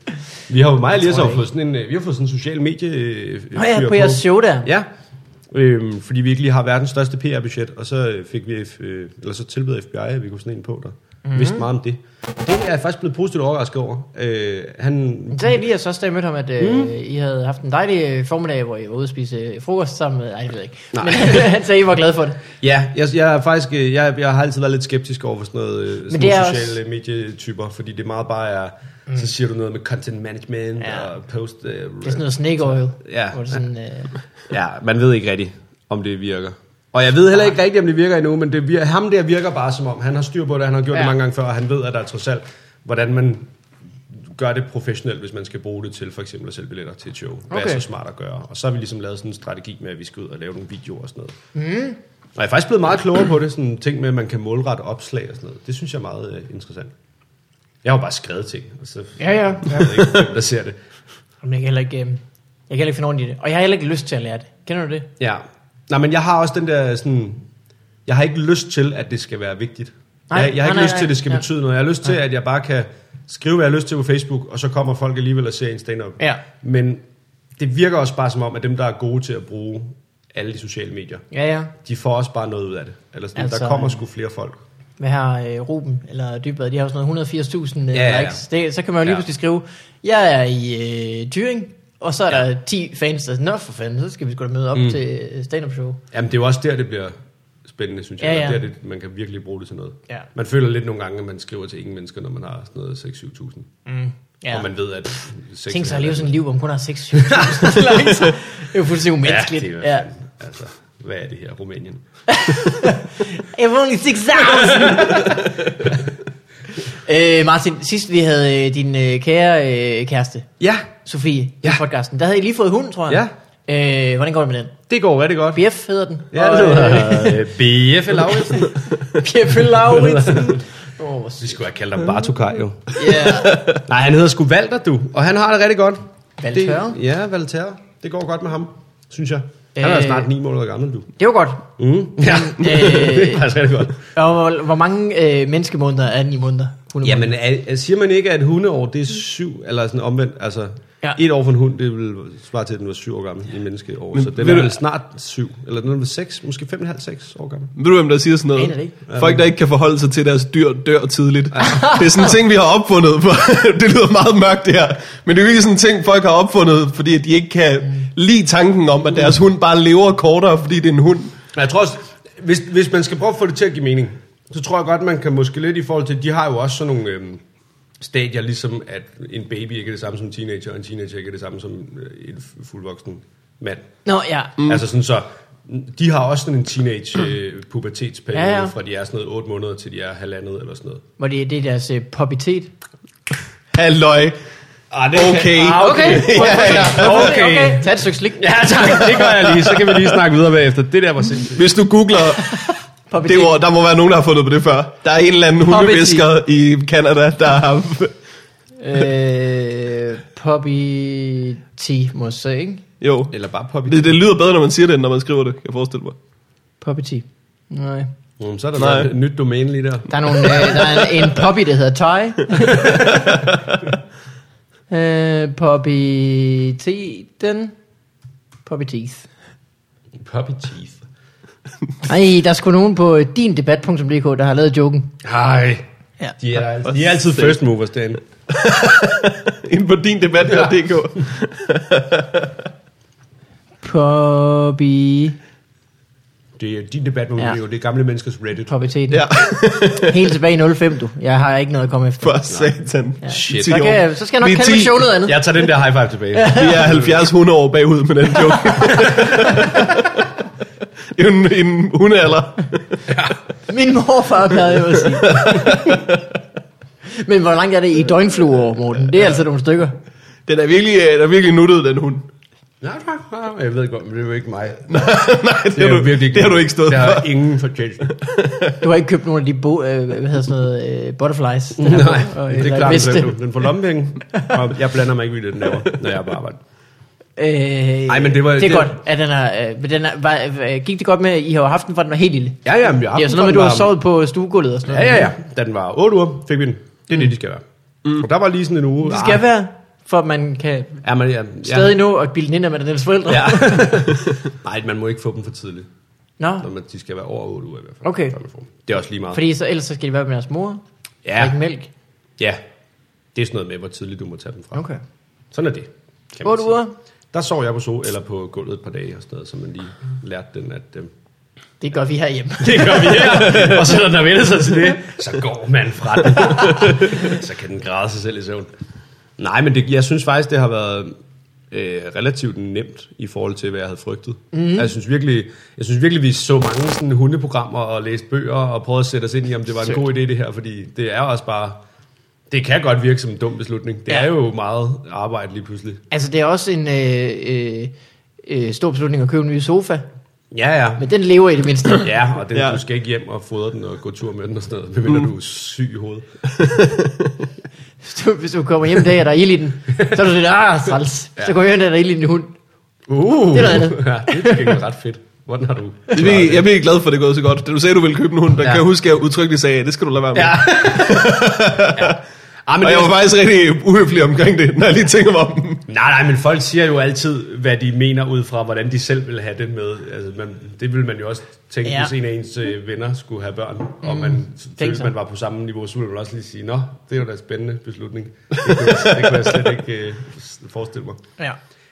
S2: Vi har jo meget lige
S1: tror
S2: så
S1: jeg
S2: fået sådan en, øh, vi har fået sådan en social medie øh,
S1: Nå ja,
S2: fyr
S1: på jeres show der.
S2: Ja, øhm, fordi vi ikke lige har verdens største PR-budget, og så øh, fik vi, F- øh, eller så tilbød FBI, at vi kunne sådan en på, der
S1: Mhm.
S2: mm-hmm. vidste meget om det. Det er jeg faktisk blevet positivt overrasket over. Øh, han,
S1: Så jeg lige, at så da jeg mødte ham, at øh,
S2: Mm.
S1: I havde haft en dejlig øh, formiddag, hvor I var ude at spise øh, frokost sammen med... Ej, det ved jeg ikke.
S2: Nej.
S1: Men <laughs> han sagde, I var glad for det.
S2: ja, jeg, jeg er faktisk, øh, jeg, jeg har altid været lidt skeptisk over for sådan noget, øh, sådan
S1: det
S2: nogle
S1: er
S2: sociale også... medietyper, fordi det meget bare er, mm. så siger du noget med content management
S1: Ja.
S2: ja. og post... Øh,
S1: Det er sådan noget snake oil.
S2: Ja.
S1: Hvor det sådan, øh,
S2: Ja, man ved ikke rigtigt, om det virker. Og jeg ved heller ikke rigtigt, om det virker endnu, men det vir- ham der virker bare som om, han har styr på det, han har gjort ja.
S1: Ja.
S2: det mange gange før, og han ved, at der er trods alt, hvordan man gør det professionelt, hvis man skal bruge det til for eksempel at sælge billetter til et show. Hvad
S1: Okay.
S2: er så smart at gøre? Og så har vi ligesom lavet sådan en strategi med, at vi skal ud og lave nogle videoer og sådan noget. Mm. Og jeg er faktisk blevet meget klogere på det, sådan ting med, at man kan målrette opslag og sådan noget. Det synes jeg er meget øh, interessant. Jeg har jo bare skrevet ting, og så
S1: ja, ja.
S2: jeg ved ikke, hvem der ser det.
S1: Jamen, jeg kan heller ikke... Øh, jeg kan heller ikke finde ordentligt i det. Og jeg har heller ikke lyst til at lære det. Kender du det?
S2: Ja. Nej, men jeg har også den der sådan... Jeg har ikke lyst til, at det skal være vigtigt.
S1: Nej,
S2: Nej, jeg, jeg har
S1: nej,
S2: ikke
S1: nej,
S2: lyst til,
S1: nej,
S2: at det skal
S1: ja.
S2: ja. betyde noget. Jeg har lyst til, at jeg bare kan skrive, hvad jeg har lyst til på Facebook, og så kommer folk alligevel og ser en stand-up.
S1: Ja.
S2: Men det virker også bare som om, at dem, der er gode til at bruge alle de sociale medier.
S1: Ja, ja.
S2: De får også bare noget ud af det. Eller sådan, altså,
S1: Altså,
S2: der kommer
S1: øh,
S2: sgu flere folk.
S1: Hvad har øh, Ruben eller Dybvad, de har jo sådan noget 180.000 øh,
S2: Ja, ja, ja.
S1: likes. Det, så kan man jo lige
S2: Ja.
S1: pludselig skrive, jeg er i øh, Tyring, og så er der 10 fans, der er sådan, Nå for fanden, så skal vi sgu da møde op mm. til øh, stand-up show.
S2: Jamen, det er jo også der, det bliver spændende, synes jeg.
S1: Ja,
S2: Ja,
S1: ja.
S2: ja. Der, det, man kan virkelig bruge det til noget.
S1: Ja.
S2: Man føler lidt nogle gange, at man skriver til ingen mennesker, når man har sådan noget 6-7.000.
S1: Mm.
S2: Ja. Og
S1: Ja.
S2: man ved, at... 6
S1: Tænk sig at leve sådan et liv, hvor man kun har 6 <laughs> likes. Det er jo fuldstændig umenneskeligt.
S2: Ja, det er
S1: Ja,
S2: ja. Altså, hvad er det her, Rumænien?
S1: I've only 6.000! <laughs> øh, Martin, sidst vi havde øh, din øh, kære øh, kæreste,
S2: Ja,
S1: Sofie, ja.
S2: Ja.
S1: i podcasten, der havde I lige fået hund, tror jeg. Ja. Øh, hvordan går det med den?
S2: det går rigtig godt.
S1: BF hedder den.
S2: Ja, det <laughs> hedder BF Lauritsen.
S1: <laughs> BF øh, Lauritsen. Åh, oh,
S2: <laughs> Vi skulle have kaldt ham Bartokar, jo.
S1: yeah.
S2: Nej, han hedder sgu Valter, du. Og han har det rigtig godt.
S1: Valterre?
S2: Det, ja, Valter. Det går godt med ham, synes jeg. Han er
S1: Øh.
S2: snart 9 måneder gammel, du.
S1: Det var godt.
S2: Mm. Ja, <laughs> det er faktisk rigtig godt.
S1: Og hvor, hvor mange øh, menneskemåneder er den i måneder? Hundemåneder?
S2: Jamen, er, er- Øh, siger man ikke, at hundeår, det er syv, eller sådan omvendt, altså...
S1: Ja.
S2: Ja. Et år for en hund, det vil svare til, at den var syv år gammel i menneskeår.
S3: Men
S2: så den
S3: ved
S2: er
S3: du-
S2: vel snart syv, eller den er vel seks, måske fem og en halv, seks år gammel.
S3: Ved du, hvem der siger sådan
S1: Aner det
S3: noget?
S1: ikke.
S3: Folk, der ikke kan forholde sig til, at deres dyr dør tidligt. Det er sådan en ting, vi har opfundet. For, <laughs> det lyder meget mørkt, det her. Men det er virkelig sådan en ting, folk har opfundet, fordi de ikke kan lide tanken om, at deres hund bare lever kortere, fordi det er en hund.
S2: Men Jeg tror også, hvis, hvis man skal prøve at få det til at give mening, så tror jeg godt, man kan måske lidt i forhold til, de har jo også sådan nogle øhm, stadier, ligesom at en baby ikke er det samme som en teenager, og en teenager ikke er det samme som øh, en fu- fuldvoksen mand.
S1: Nå, ja.
S2: Mm. Altså sådan så, de har også sådan en teenage øh, pubertetsperiode,
S1: Ja,
S2: ja,
S1: ja.
S2: ja. fra de er sådan noget 8 måneder til de er halvandet eller sådan noget.
S1: Hvor det, det er deres øh, popitet.
S3: Halløj.
S2: Ah, <laughs>
S3: Okay.
S1: Ah, okay.
S3: Ja, ja.
S1: okay. okay. Tag et stykke slik.
S2: Ja
S1: <laughs>
S2: tak, det gør jeg lige, så kan vi lige snakke videre bagefter. Det der var sindssygt.
S3: Hvis du googler
S1: Popitet.
S3: det ord, der må være nogen, der har fundet på det før. Der er en eller anden hundevisker i Kanada, der har...
S1: Øh, poppy må jeg sige, ikke?
S3: Jo.
S2: Eller bare poppy.
S3: Det, det lyder bedre, når man siger det, end når man skriver det, kan jeg forestille mig.
S1: Poppy tea. Nej.
S2: Mm, så er der
S3: Nej.
S2: noget nyt domæne lige der.
S1: Der er, nogle, øh, der er en, en poppy, der hedder <laughs> Thai. øh, poppy tea, den. Poppy teeth.
S2: Poppy teeth.
S1: Ej, der er sgu nogen på øh, dindebat.dk, der har lavet joken.
S2: Hej.
S1: Ja.
S2: De er, altid, de er altid first movers derinde.
S3: Inden på din debat her, DK.
S1: Poppy...
S2: Det er din debat, hvor
S1: Ja.
S2: ja. det er gamle menneskers Reddit.
S1: Poppy tea.
S3: Ja,
S1: Helt tilbage i 05, du. Jeg har ikke noget at komme efter.
S3: for satan. Ja.
S2: Shit.
S1: Så, kan, jeg- så skal jeg
S3: Vi er
S1: nok kalde mit
S3: 10.
S1: show noget andet.
S2: Jeg tager den der high five tilbage.
S3: Vi er 70-100 år bagud med den joke.
S2: <laughs>
S3: Det er jo en, en hundealder.
S1: Min morfar plejede jo at
S2: <laughs>
S1: sige. Men hvor langt er det i døgnflueår, Morten? Det er altså nogle stykker.
S3: Den er virkelig, øh, den er virkelig nuttet, den hund. <laughs>
S2: Nej, tak. nej, Jeg ved godt, men det er jo ikke mig.
S3: Nej, det, det, har,
S2: jo
S3: du, det har du ikke stået
S2: der
S3: for.
S2: er ingen fortjeneste.
S1: Du har ikke købt nogen af de bo, øh, hvad hedder sådan noget, øh, butterflies. Den her
S2: Nej,
S1: bog, og, øh,
S2: det
S1: eller
S2: er klart,
S1: veste.
S2: den, du- den får lommepenge. Og jeg blander mig ikke vildt i den laver, når jeg er på arbejde.
S1: Øh,
S2: Ej, men det var-
S1: det er
S2: det-
S1: godt, at den er, øh, men den er var, øh, gik det godt med, at I har jo haft den, fra den var helt lille.
S2: Ja, ja, men jeg
S1: Det er jo sådan noget med, du har sovet på stuegulvet og sådan
S2: Ja,
S1: noget.
S2: ja, ja. Da den var 8 uger, fik vi den. Det er det, de skal være. Og der var lige sådan en uge. Ah.
S1: Det skal være, for at man kan
S2: Ja, men, ja, ja.
S1: stadig nå at bilde den ind af med deres forældre. <laughs>
S2: Ja. <laughs> Nej, man må ikke få dem for tidligt.
S1: Nå,
S2: Når man, de skal være over 8 uger i hvert fald.
S1: Okay.
S2: før man får dem. Det er også lige meget.
S1: fordi så, ellers så skal de være med deres mor, ja.
S2: ja,
S1: drikke mælk.
S2: ja, det er sådan noget med, hvor tidligt du må tage dem fra.
S1: Okay.
S2: Sådan er det. kan man
S1: 8
S2: sige.
S1: uger,
S2: Der sov jeg på so eller på gulvet et par dage og sådan noget, så man lige lærte den, at øh,
S1: det gør vi herhjemme.
S2: <laughs> det gør vi her. <laughs> og så når den har vendt sig til det, <laughs> så går man fra den. så kan den <laughs> græde sig selv i søvn. Nej, men det, jeg synes faktisk, det har været øh, relativt nemt i forhold til, hvad jeg havde frygtet. Mm. Jeg, synes virkelig, jeg synes virkelig, vi så mange sådan, hundeprogrammer og læste bøger og prøvede at sætte os ind i, om det var en god idé det her, fordi det er også bare... Det kan godt virke som en dum beslutning. Det
S1: Ja.
S2: er jo meget arbejde lige pludselig.
S1: Altså, det er også en øh, øh, øh, stor beslutning at købe en ny sofa,
S2: Ja, ja.
S1: men den lever i det mindste.
S2: Ja, og den,
S3: Ja.
S2: ja. du skal ikke hjem og fodre den og gå tur med den og sådan noget, medmindre mm. du er syg i hovedet.
S1: Hvis du, hvis du kommer hjem en dag, og der er ild i den, så er du sådan, ah, træls. Ja. Så kommer jeg hjem en dag, og der er ild i din hund.
S2: Uh,
S1: Det er noget andet.
S2: <laughs> Ja, det er til gengæld ret fedt. Hvordan har du
S3: Jeg er virkelig- jeg er virkelig glad for, at det er gået så godt. Da du sagde, at du ville købe en hund, der ja.
S2: Ja.
S3: kan jeg huske, at jeg udtrykkeligt sagde, at det skal du lade være med. <laughs> Ja.
S2: Ja. Ah, men
S3: Og
S2: det
S3: jeg
S2: er-
S3: var faktisk rigtig uhøflig omkring det, når jeg lige tænker mig om.
S2: Nej, nej, men folk siger jo altid, hvad de mener ud fra, hvordan de selv vil have det med. Altså, man, det ville man jo også tænke,
S1: Ja.
S2: ja. hvis en af ens øh, venner skulle have børn, mm. og man følte,
S1: sig.
S2: man var på samme niveau, så ville man også lige sige, nå, det er jo da en spændende beslutning. Det kunne jeg, det kunne jeg slet ikke øh, s- forestille mig.
S1: Ja.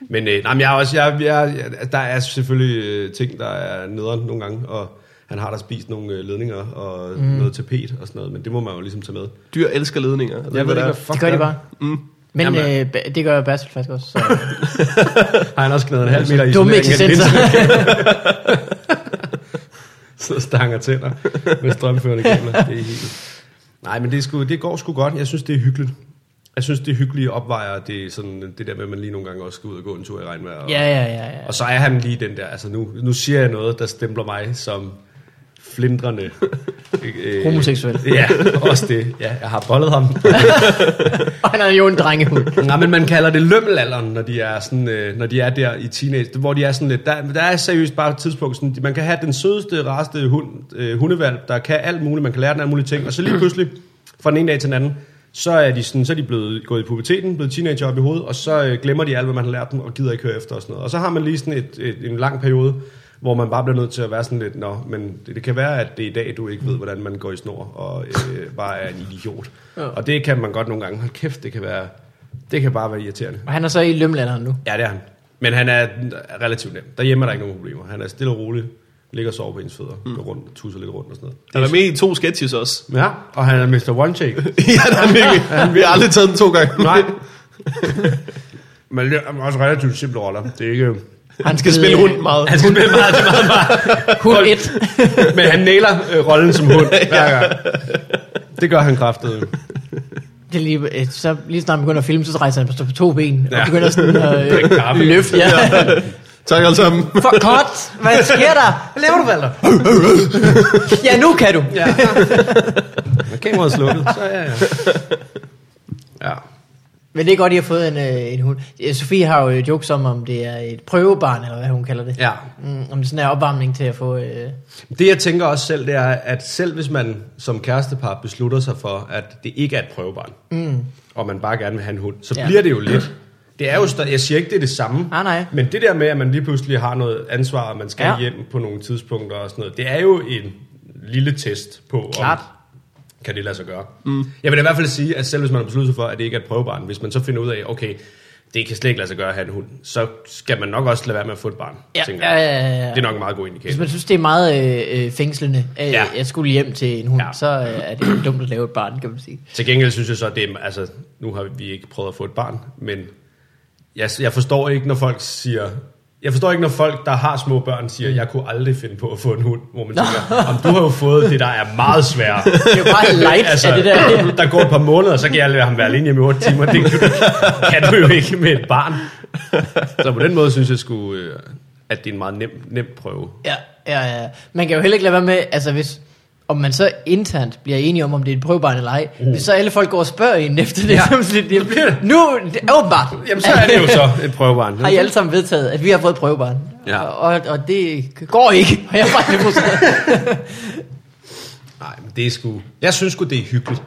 S2: Men, øh, nej, men jeg er også, jeg, jeg, jeg, der er selvfølgelig øh, ting, der er nederen nogle gange, og han har da spist nogle øh, ledninger og mm. noget tapet og sådan noget, men det må man jo ligesom tage med.
S3: Dyr elsker ledninger. Jeg ved,
S2: Jeg ved ikke,
S3: der
S2: hvad
S3: er.
S2: fuck
S1: Det gør de
S2: der er.
S1: bare. Mm. Men
S2: Jamen,
S1: øh, ba- det gør Basil faktisk også. Så.
S2: Har han også knædet ligesom en halv meter i
S1: Dumme
S2: isolering af et
S1: eksistenser.
S2: <laughs> sidder og stanger tænder med strømførende kabler. Det er helt... Nej, men det, er sgu, det går sgu godt. Jeg synes, det er hyggeligt. Jeg synes, det hyggelige opvejer det, sådan, det der med, at man lige nogle gange også skal ud og gå en tur i regnvejr. Og,
S1: <laughs> Ja, ja, ja. ja.
S2: og så er han lige den der, altså nu, nu siger jeg noget, der stempler mig som flindrende. <laughs> øh,
S1: Homoseksuel.
S2: Ja, også det. Ja, jeg har bollet ham.
S1: Og han er jo en drengehund.
S2: Nej, men man kalder det lømmelalderen, når de er, sådan, øh, når de er der i teenage, hvor de er sådan lidt, der, der er seriøst bare et tidspunkt, sådan, man kan have den sødeste, rareste hund, øh, hundevalg, der kan alt muligt, man kan lære den alle mulige ting, og så lige pludselig, fra den ene dag til den anden, så er de, sådan, så er de blevet gået i puberteten, blevet teenager op i hovedet, og så øh, glemmer de alt, hvad man har lært dem, og gider ikke høre efter og sådan noget. Og så har man lige sådan et, et, en lang periode, hvor man bare bliver nødt til at være sådan lidt, nå, men det, det kan være, at det er i dag, du ikke ved, hvordan man går i snor, og øh, bare er en idiot. Ja. Og det kan man godt nogle gange. Hold kæft, det kan være det kan bare være irriterende.
S1: Og han er så i lømlanderen nu.
S2: Ja, det er han. Men han er relativt nem. Derhjemme er der ikke nogen problemer. Han er stille og rolig. Ligger og sover på ens fødder. Mm. Går rundt, tusser lidt rundt og sådan
S3: Han er med i to sketches også. <laughs>
S2: noget. Ja, og han er Mr. One Take.
S3: ja,
S2: <laughs>
S3: der er virkelig. Vi har aldrig taget den to gange.
S2: Nej. <laughs> Men det er også relativt simple roller. Det er ikke...
S1: Han
S3: Skal spille rundt meget.
S2: Han skal spille meget, det er meget, meget.
S1: Hund
S2: Hold-
S1: 1.
S2: Men han næler øh, rollen som <laughs> hund hver gang. Det gør han kraftet.
S1: Det er lige, øh, så lige snart han begynder at filme, så rejser han på to ben. Ja.
S2: Ja.
S1: Og begynder sådan at
S2: Drikke kaffe.
S1: øh, løfte. Ja.
S3: Tak alle sammen.
S1: For godt. Hvad sker der? Hvad laver du, Valder? ja, nu kan du. Ja.
S2: Når kameraet er slukket, så ja, <laughs> ja. Ja.
S1: Men det er godt, I har fået en, øh, en hund. Øh, Sofie har jo jokes om, om det er et prøvebarn, eller hvad hun kalder det.
S2: ja.
S1: Mm, om det sådan er opvarmning til at få... Øh,
S2: Det jeg tænker også selv, det er, at selv hvis man som kærestepar beslutter sig for, at det ikke er et prøvebarn, mm. og man bare gerne vil have en hund, så
S1: Ja.
S2: ja. bliver det jo lidt. Det er jo stadig, jeg siger ikke, det er det samme,
S1: Ah, nej.
S2: men det der med, at man lige pludselig har noget ansvar, og man skal
S1: Ja.
S2: ja. hjem på nogle tidspunkter og sådan noget, det er jo en lille test på,
S1: Klart.
S2: om kan det lade sig gøre. Mm. Jeg vil da i hvert fald sige, at selv hvis man har besluttet sig for, at det ikke er et prøvebarn, hvis man så finder ud af, okay, det kan slet ikke lade sig gøre at have en hund, så skal man nok også lade være med at få et barn,
S1: Ja,
S2: tænker
S1: ja,
S2: jeg.
S1: ja, ja, ja.
S2: Det er nok en meget god indikator.
S1: Hvis man synes, det er meget øh, øh, fængslende, øh, ja.
S2: Ja.
S1: jeg skulle hjem til en hund, ja.
S2: Ja.
S1: så øh, er det jo dumt at lave et barn, kan man sige.
S2: Til gengæld synes jeg så, at det er, altså, nu har vi ikke prøvet at få et barn, men jeg, jeg forstår ikke, når folk siger, jeg forstår ikke, når folk, der har små børn,
S1: Mm.
S2: siger, jeg kunne aldrig finde på at få en hund, hvor man tænker, om du har jo fået det, der er meget sværere.
S1: Det er jo bare <laughs> light altså, af det der.
S2: der går et par måneder, så kan jeg lade ham være alene hjemme i 8 timer. Det kan du, kan du jo ikke med et barn. Så på den måde synes jeg sgu, øh, at det er en meget nem, nem prøve.
S1: Ja, ja, ja. Man kan jo heller ikke lade være med, altså hvis, om man så internt bliver enige om, om det er et prøvebarn eller ej, uh. hvis så alle folk går og spørger en efter det, ja.
S2: <laughs> Ja.
S1: så er man sådan lidt, jamen, nu, det er åbenbart.
S2: Jamen så er det jo så et prøvebarn.
S1: Har I alle sammen vedtaget, at vi har fået prøvebarn?
S2: Ja.
S1: Og, og, og det går ikke, <laughs> og jeg er bare lidt frustreret.
S2: Nej, men det er sgu, jeg synes sgu, det er hyggeligt.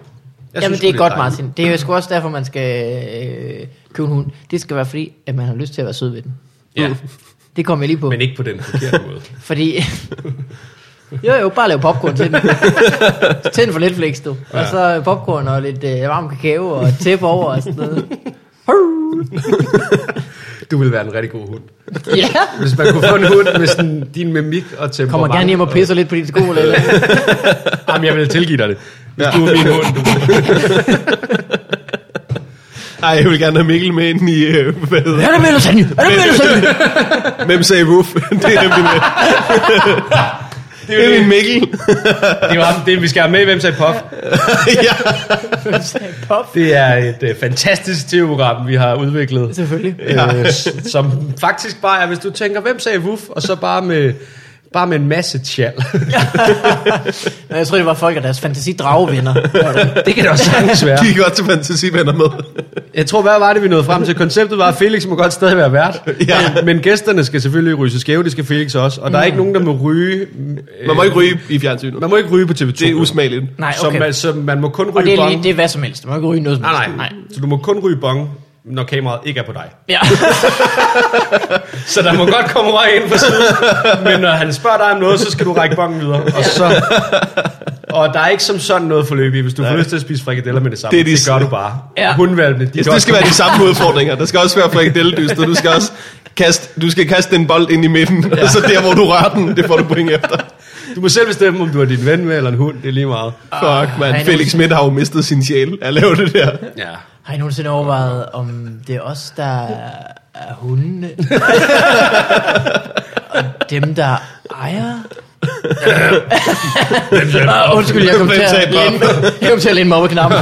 S2: Jeg
S1: Jamen
S2: synes
S1: det
S2: sgu,
S1: er godt,
S2: dejligt.
S1: Martin. Det er jo sgu også derfor, man skal øh, købe en hund. Det skal være fordi, at man har lyst til at være sød ved den. Mm.
S2: Ja.
S1: Det kom jeg lige på.
S2: Men ikke på den forkerte måde.
S1: Fordi... jo, jo, bare lave popcorn til den. Tænd for lidt flæks, du. Og så popcorn og lidt øh, varm kakao og et tæppe over og sådan noget.
S2: <laughs> Du vil være en rigtig god hund.
S1: Ja.
S2: Hvis man kunne få en hund med sådan din mimik og temperament.
S1: Kommer gerne hjem og pisser lidt på din sko. Eller, eller.
S2: Jamen, jeg vil tilgive dig det. Hvis ja. du er min hund. Du.
S3: Ej, jeg vil gerne have Mikkel med ind i, øh, hvad hedder
S1: Er det med, Lasagne? Er det med, Lasagne?
S3: Hvem sagde Roof? <laughs> det er nemlig med. det er min Mikkel.
S2: <laughs> Det var ham, det, vi skal have med i Hvem sagde Puff.
S3: ja.
S1: Pop,
S2: Det er et øh, fantastisk tv-program, vi har udviklet.
S1: selvfølgelig.
S2: Øh, s- som faktisk bare er, hvis du tænker, hvem sagde Wuff? Og så bare med Bare med en masse tjal. <laughs>
S1: Jeg tror, det var folk af deres fantasidragevenner.
S2: det kan det også sagtens være.
S3: De er godt til fantasivenner med.
S2: Jeg tror, hvad var det, vi nåede frem til? Konceptet var, at Felix må godt stadig være vært.
S3: Ja.
S2: Men, men gæsterne skal selvfølgelig ryge sig skæve, det skal Felix også. Og der er ikke nogen, der må ryge. øh,
S3: Man må ikke ryge i fjernsynet.
S2: man må ikke ryge på TV2.
S3: Det er usmageligt.
S1: Nej,
S2: Så,
S1: okay.
S2: man, så man må kun ryge
S1: Og det er,
S2: bong.
S1: lige, det er hvad som helst. Man kan ikke ryge noget som
S2: Nej,
S1: helst.
S2: nej, nej. Så du må kun ryge bong, når kameraet ikke er på dig.
S1: Ja.
S2: Så der må godt komme røg ind på siden. Men når han spørger dig om noget, så skal du række bongen videre. Og, så, og der er ikke som sådan noget forløb i. Hvis du får lyst til at spise frikadeller med det samme,
S3: Det
S2: det,
S3: er de-
S2: det gør du bare.
S1: Ja.
S2: Ja. Hundvalgene, de
S3: Ja,
S2: gør
S3: det skal være de samme udfordringer. Der skal også være frikadelledyster. Du skal også kaste, du skal kaste en bold ind i midten, ja. og så der, hvor du rører den, det får du point efter.
S2: Du må selv bestemme, om du er din ven med eller en hund. Det er lige meget.
S3: Fuck,
S1: han er
S3: man. Felix Schmidt har jo mistet sin sjæl af at lave det der.
S2: Ja.
S1: Har I nogensinde overvejet, om det er os, der er
S2: <laughs>
S1: hundene? og dem, der ejer? Ah, Undskyld, jeg kom til at
S3: Hvem taber?
S1: læne, jeg kom til at læne mig op ad
S2: <laughs>
S1: knappen.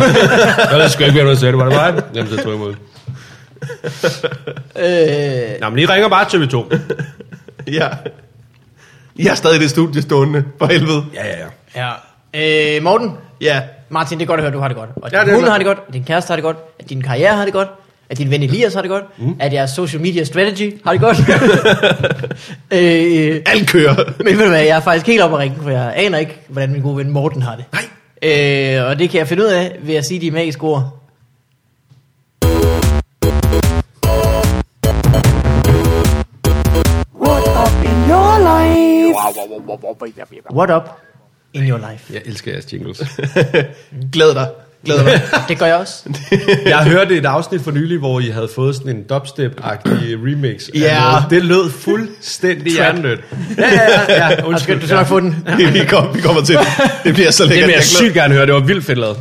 S2: Ellers skulle jeg ikke være noget at sige, det var det mig. Jamen, så tog jeg imod.
S1: øh,
S2: Nå, men I ringer bare til TV2.
S3: Ja. Jeg er stadig i det studie stående, for helvede.
S2: Ja, ja, ja.
S1: ja. øh, Morten,
S3: Ja.
S1: Martin, det er godt at høre, at du har det godt. Og
S2: Ja,
S1: din
S2: det er
S1: hund
S2: godt.
S1: har det godt, og din kæreste har det godt, at din karriere har det godt, at din ven Elias har det godt, mm. at jeres social media strategy har det
S2: <laughs>
S1: godt. øh,
S3: Alt kører.
S1: Men ved du hvad, jeg er faktisk helt oppe at ringe, for jeg aner ikke, hvordan min gode ven Morten har det. Nej. Øh, og det kan jeg finde ud af ved at sige de magiske ord.
S4: What up in your life?
S1: What up in your life?
S2: Jeg elsker jeres jingles.
S3: Glæd dig. Glæd dig.
S1: Det gør jeg også.
S2: Jeg hørte et afsnit for nylig, hvor I havde fået sådan en dubstep-agtig remix. af
S3: Ja.
S2: noget. Det lød fuldstændig Altså,
S1: Trap.
S2: hjernedødt. Ja, ja, ja, ja.
S1: Og skal
S2: Undskyld.
S1: du så nok få den.
S3: vi, kommer, vi kommer til det. Det bliver så
S2: Det
S3: lækkert.
S2: vil jeg
S3: Jeg glæder-
S2: sygt gerne høre. Det var vildt fedt lavet.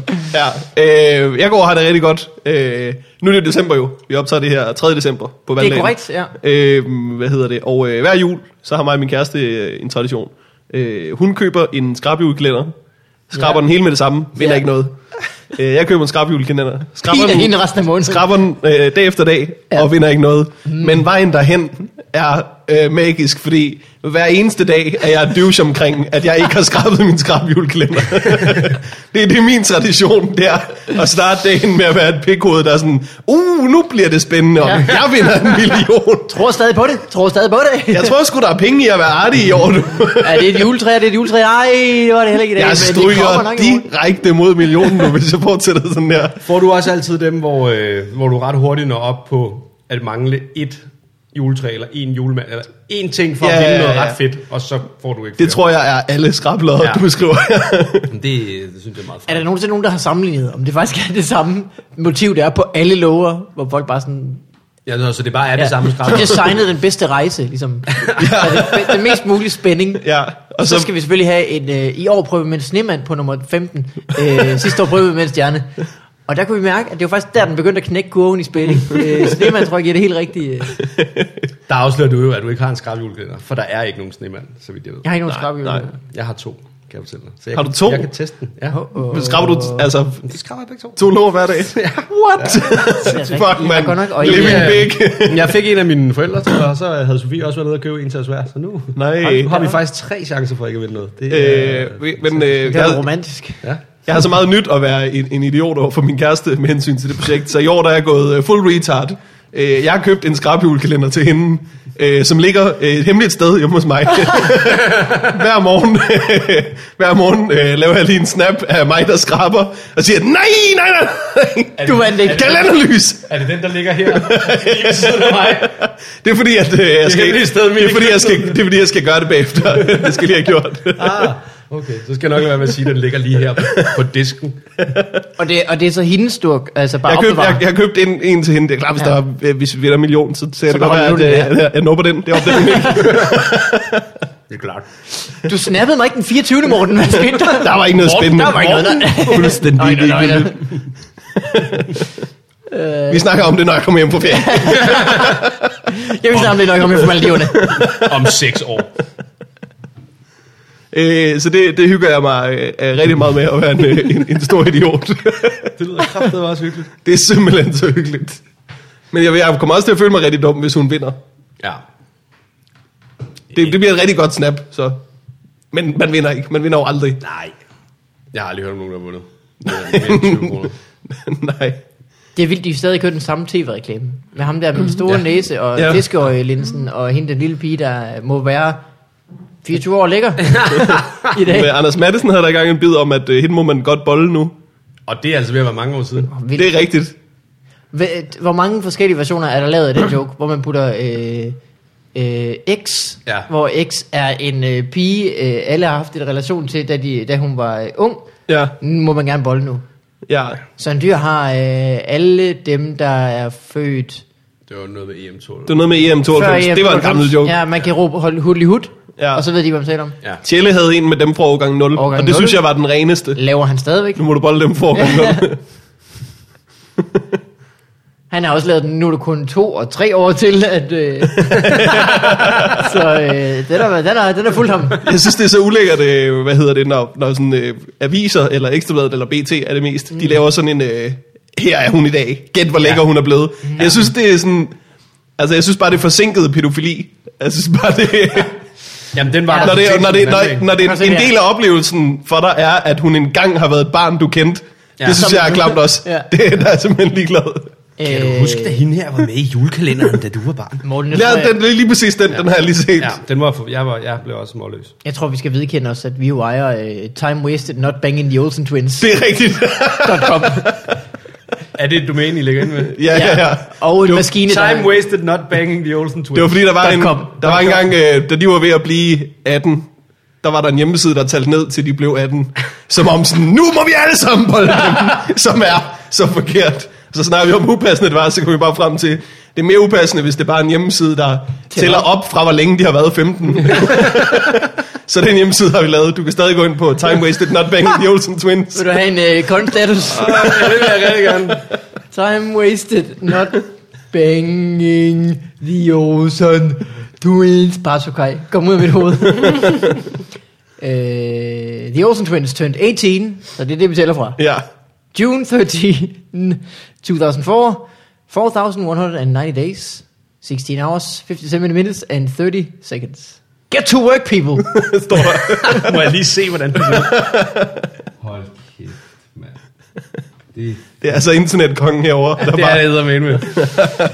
S3: Ja, øh, jeg går og har det rigtig godt. Øh, nu er det jo december jo. Vi optager det her 3. december på valgdagen.
S1: korrekt, ja.
S3: Øh, hvad hedder det? Og øh, hver jul, så har mig og min kæreste øh, en tradition. Øh, hun køber en skrabjulekalender. Skraber
S1: Ja.
S3: den hele med det samme. Vinder
S1: Ja.
S3: ikke noget. Øh, jeg køber en skrabjulekalender. Skraber
S1: Piner
S3: den,
S1: hende resten af måneden.
S3: skraber den øh, dag efter dag,
S1: Ja.
S3: ja. og vinder ikke noget. Mm. Men vejen derhen er øh, magisk, fordi hver eneste dag er jeg douche omkring, at jeg ikke har skrabet min skrabhjulkalender. <laughs> det, er- det er min tradition der, at starte dagen med at være et pikhoved, der er sådan, uh, nu bliver det spændende, og
S1: Ja.
S3: jeg vinder en million.
S1: Tror stadig på det. Tror stadig på det.
S3: Jeg tror sgu, der er penge i at være artig i år nu.
S1: <laughs> Er det et juletræ? Er det et juletræ? Ej, det var det heller ikke i dag.
S3: Jeg
S1: men det kommer
S3: stryger
S1: nok i morgen.
S3: direkte mod millionen nu, hvis jeg fortsætter sådan der.
S2: Får du også altid dem, hvor, øh, hvor du ret hurtigt når op på at mangle et juletræ, eller en julemand, eller en ting for ja, at vinde ja, ja. noget ret fedt, og så får du ikke
S3: Det tror jeg er alle skrablere,
S2: Ja.
S3: ja. du skriver.
S2: jeg. Det, det synes jeg er meget
S1: Er
S2: fedt.
S1: der nogensinde nogen, der har sammenlignet, om det faktisk er det samme motiv, der er på alle lover, hvor folk bare sådan...
S2: Ja, nå, så det bare er det samme skrab.
S1: De designede den bedste rejse, ligesom. ja. det, den mest mulige spænding.
S3: <laughs> ja,
S1: Og så, så skal vi selvfølgelig have en, øh, i år prøve med en snemand på nummer 15.
S3: <laughs>
S1: Øh, sidste år prøvede vi med en stjerne. Og der kunne vi mærke, at det var faktisk der, den begyndte at knække kurven i
S3: <laughs>
S1: spænding. Øh, snemand tror jeg giver det helt rigtige. Øh.
S2: Der afslører du jo, at du ikke har en skrab julekalender, for der er ikke nogen snemand, så vidt jeg ved.
S1: Jeg har ikke nogen skrab i
S3: nej.
S2: Jeg har to, kan jeg fortælle dig. Så jeg
S3: Har
S2: kan,
S3: du to?
S2: Jeg kan teste den. Ja.
S3: Men skraber du t- altså
S2: De skraber begge to.
S3: to lår hver dag? What? <laughs> Fuck,
S1: Jeg går nok
S3: man.
S1: øje i
S3: Living
S2: Ja. <laughs>
S3: big.
S2: Jeg fik en af mine forældre, tror jeg, og så havde Sofie også været nede og købe en til os hver. Så nu
S3: Nej.
S2: har, har vi faktisk tre chancer for ikke at vinde noget. Det, er-
S3: Øh, vi- men øh,
S1: Det er jo
S3: jeg,
S1: romantisk.
S2: ja.
S3: jeg har så meget nyt at være en, en idiot over for min kæreste med hensyn til det projekt, så i år der er jeg gået øh, full retard. Øh, jeg har købt en skrabhjulkalender til hende, øh, som ligger øh, et hemmeligt sted hjemme hos mig. hver morgen, hver morgen øh, laver jeg lige en snap af mig, der skraber, og siger, nej, nej, nej,
S1: Du vandt ikke.
S3: kalenderlys.
S2: Er det den, der ligger
S5: <laughs>
S2: her? Lige ved siden af mig?
S3: Det er fordi, at øh, jeg skal,
S2: hemmelige sted,
S3: det er fordi, jeg skal, det er fordi, jeg skal gøre det bagefter. det skal jeg lige have gjort.
S2: Ah, okay. Så skal jeg nok lade være med at sige, at den ligger lige her på- på disken.
S1: Og det, og det er så hendes stuk, altså bare
S3: Jeg
S1: jeg
S3: har købt,
S1: opbevaret.
S3: jeg, jeg har købt en, en til hende. Det er klart, hvis,
S1: Ja.
S3: ja. der, er- øh, hvis vi vinder en million, så ser det godt,
S1: beholder
S3: at
S1: du den,
S3: jeg, jeg, jeg nupper den.
S1: <laughs>
S3: Det er opdager den ikke.
S2: Det er klart.
S1: Du snappede mig ikke den 24. morgen, hvad
S3: <laughs>
S1: skete der?
S3: Der var ikke noget
S1: Morten,
S3: spændende.
S1: der var ikke noget, der-
S3: Morten, <laughs> Fuldstændig
S1: Nøj, nøj, nøj, nøj.
S3: ligegyldigt.
S1: Øh.
S3: Vi snakker om det, når jeg kommer hjem på ferie.
S1: Jeg vil snakke om det, når jeg kommer hjem fra Maldiverne.
S2: Om seks år.
S3: Øh, så det, det hygger jeg mig øh, øh, rigtig meget med at være en, øh, en, en stor
S1: <laughs>
S3: idiot.
S2: Det lyder kraftedeme også hyggeligt.
S3: det er simpelthen så hyggeligt. Men jeg, jeg kommer også til at føle mig rigtig dum, hvis hun vinder.
S2: Ja.
S3: Det, det bliver et rigtig godt snap, så. Men man vinder ikke. Man vinder jo aldrig.
S5: Nej. Jeg har aldrig hørt om nogen, der har vundet.
S2: <laughs>
S5: Det er mere end 20 kroner.
S3: <laughs> Nej.
S1: Det er vildt, de stadig kører den samme tv-reklame. Med ham der med den store ja. næse og
S3: Mm. Ja.
S1: ja. fiskeøjelinsen, og hende den lille pige, der må være 24 år
S3: <laughs>
S1: lækker i dag.
S3: Men Anders Madsen havde der i gang en bid om, at øh, hende må man godt bolle nu.
S5: Og det er altså ved at være mange år siden.
S1: Vildt.
S3: Det er rigtigt.
S1: Ved- Hvor mange forskellige versioner er der lavet af den joke, hvor man putter øh, øh, X,
S5: Ja.
S1: ja. hvor X er en øh, pige, øh, alle har haft en relation til, da, de, da hun var øh, ung.
S3: Ja,
S1: Nu må man gerne bolle nu.
S3: ja.
S1: Søren Dyr har øh, alle dem, der er født
S5: Det var noget E med EM2.
S3: Det var noget med E EM92. Det var en gammel joke.
S1: E Ja, man kan råbe hold, hudli hud,
S3: Ja.
S1: ja. og så ved de, hvad man taler om.
S5: Ja.
S3: Tjelle havde en med dem fra årgang 0,
S1: Årgang
S3: og
S1: 0.
S3: det synes jeg var den reneste.
S1: Laver han stadigvæk?
S3: Nu må du bolle dem fra årgang
S1: <laughs>
S3: 0.
S1: Han har også lavet den, nu er det kun to og tre år til, at... <laughs> Øh... så øh, den, er, den, er, den er fuld ham.
S3: Jeg synes, det er så ulækkert, øh, hvad hedder det, når, når sådan, øh, aviser, eller Ekstrabladet, eller BT er det mest,
S1: Mm.
S3: de laver sådan en, øh, her er hun i dag, gæt hvor lækker hun er blevet.
S1: Mm.
S3: Jeg synes, det er sådan, altså jeg synes bare, det er forsinket pædofili. Jeg synes bare, det,
S5: Jamen, den var
S1: Ja.
S5: der
S3: når, det, er-
S5: for
S3: når, det,
S5: sent den
S3: når,
S5: anden dag.
S3: når det
S1: Prøv at se
S3: er en
S1: her.
S3: del af oplevelsen for dig er, at hun engang har været et barn, du kendte,
S5: Ja.
S3: det synes
S1: Som-
S3: jeg er klamt også.
S1: Ja.
S3: Det er der er simpelthen ligeglad.
S5: Kan
S1: Øh,
S5: du huske, da hende her var med i julekalenderen, da du var barn?
S1: Morten, jeg, tror,
S3: Ja,
S1: jeg,
S3: den, lige præcis den, den har jeg lige set.
S5: Ja, den var for, jeg, var, jeg blev også småløs.
S1: jeg tror, vi skal vedkende os, at vi jo ejer øh, Time Wasted Not Banging the Olsen Twins.
S3: Det er rigtigt. <laughs>
S5: Er det et domæne, I ligger inde med?
S3: ja, ja, ja.
S1: Og en maskine, der...
S5: Time wasted not banging the Olsen twins.
S3: Det var fordi, der var en,
S1: .com.
S3: der var engang, øh, da de var ved at blive 18, der var der en hjemmeside, der talte ned til de blev 18. Som om sådan, nu må vi alle sammen bolde dem, <laughs> som er så forkert. Så snakker vi om, hvor upassende det var, så kom vi bare frem til, det er mere upassende, hvis det bare er en hjemmeside, der tæller op fra, hvor længe de har været 15. <laughs> så den hjemmeside har vi lavet. Du kan stadig gå ind på Time Wasted Not Banging the Olsen Twins.
S1: Vil du have en øh, konstatus?
S5: Ja, det vil jeg rigtig gerne.
S1: Time Wasted Not Banging the Olsen Twins. Pasukai, kom ud af mit
S5: <laughs>
S1: hoved. øh, the Olsen Twins turned 18, så det er det, vi tæller fra.
S3: Ja,
S1: June 13, 2004, 4,190 days, 16 hours, 57 minutes and 30 seconds. Get to work, people!
S3: står der.
S5: Må jeg lige se, hvordan det ser ud? Hold kæft, mand. Det,
S3: Det er altså internetkongen herovre, der
S5: det er
S3: bare...
S5: det, jeg med med.
S1: Den, den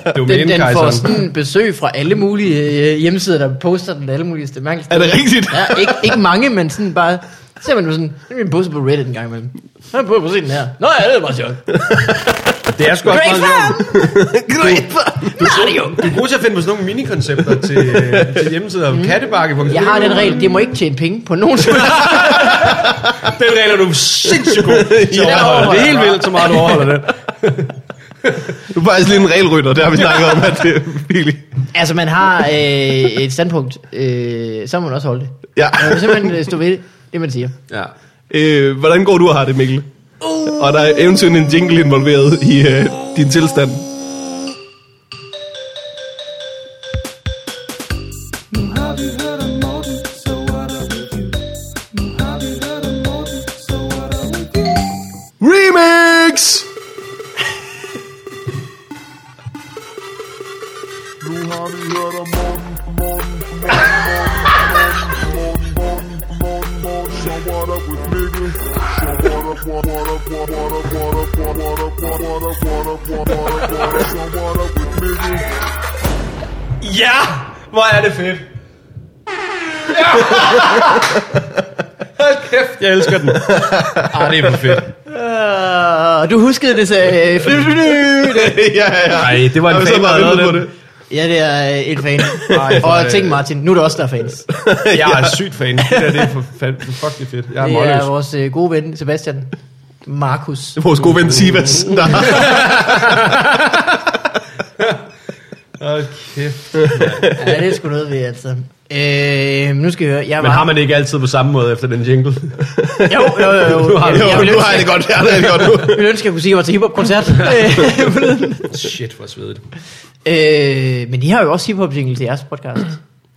S1: får
S5: Domænekejseren.
S1: sådan besøg fra alle mulige øh, hjemmesider, der poster den alle mulige steder. Man kan-
S3: Er det rigtigt?
S1: Ja, ikke, ikke mange, men sådan bare... Så ser man jo sådan, det er min poster på Reddit en gang imellem. Så er jeg på at se den her. Nå ja, det er bare sjovt.
S5: Det er sgu også
S1: Great
S5: meget sjovt. Du, du, du er god til at finde på sådan nogle minikoncepter til, øh, til hjemmesider. Mm. Kattebakke.
S1: Jeg har den regel, det må ikke tjene penge på nogen som
S5: <laughs>
S1: helst.
S5: Den regel er du sindssygt <laughs> god til at
S1: den
S5: overholde. Det er
S1: overholder
S5: helt
S1: jeg.
S5: vildt, så meget du overholder den.
S3: Du er faktisk lige en regelrytter, det har vi snakket om, at det er virkelig...
S1: Altså, man har øh, et standpunkt, øh, så må man også holde det.
S3: Ja.
S1: Man må simpelthen øh, stå ved det, det man siger.
S5: Ja.
S3: Øh, hvordan går du og har det, Mikkel? Uh. Og der er eventuelt en jingle involveret i øh, din tilstand.
S4: Nu har vi hørt om Morten, så what up with you? Nu har vi hørt om Morten, så what up with you?
S3: Remix! <laughs>
S5: Ja! Hvor er det fedt. Ja! Hold kæft, jeg elsker den. Ah, det er for fedt.
S1: Øh, du huskede det, så... Øh, fly, fly, fly.
S3: ja, ja, ja.
S5: Nej, det var en
S3: Har vi så
S5: fan, der
S3: bare
S5: havde
S3: ventet på
S5: den.
S3: det.
S1: Ja, det er øh, en fan.
S5: Ej, for,
S1: Og
S5: øh,
S1: tænk Martin, nu er det også der er fans.
S5: Jeg er sygt fan. Det der, det er for, fa- for fuck, det er fedt. Jeg er
S1: Det er
S5: målløs.
S1: vores øh, gode ven, Sebastian. <laughs> Markus.
S3: Vores gode ven Sivas, der <laughs> har
S5: Hold kæft.
S1: Ja, det er sgu noget ved, altså. Øh, nu skal jeg høre. Jeg
S5: Men
S1: var-
S5: har man det ikke altid på samme måde efter den <laughs> jingle?
S1: Jo, jo, jo. <laughs> jo.
S5: Nu har du-
S1: jeg, jeg
S3: jo,
S1: ville
S3: nu
S1: ønske,
S3: har jeg det godt, jeg har det godt nu.
S1: jeg ville ønske, jeg kunne sige, at jeg var til hiphop-koncert. Øh, forleden.
S5: Shit, hvor <laughs> svedigt.
S1: <laughs> øh, men I har jo <laughs> også hiphop-jingle til jeres podcast.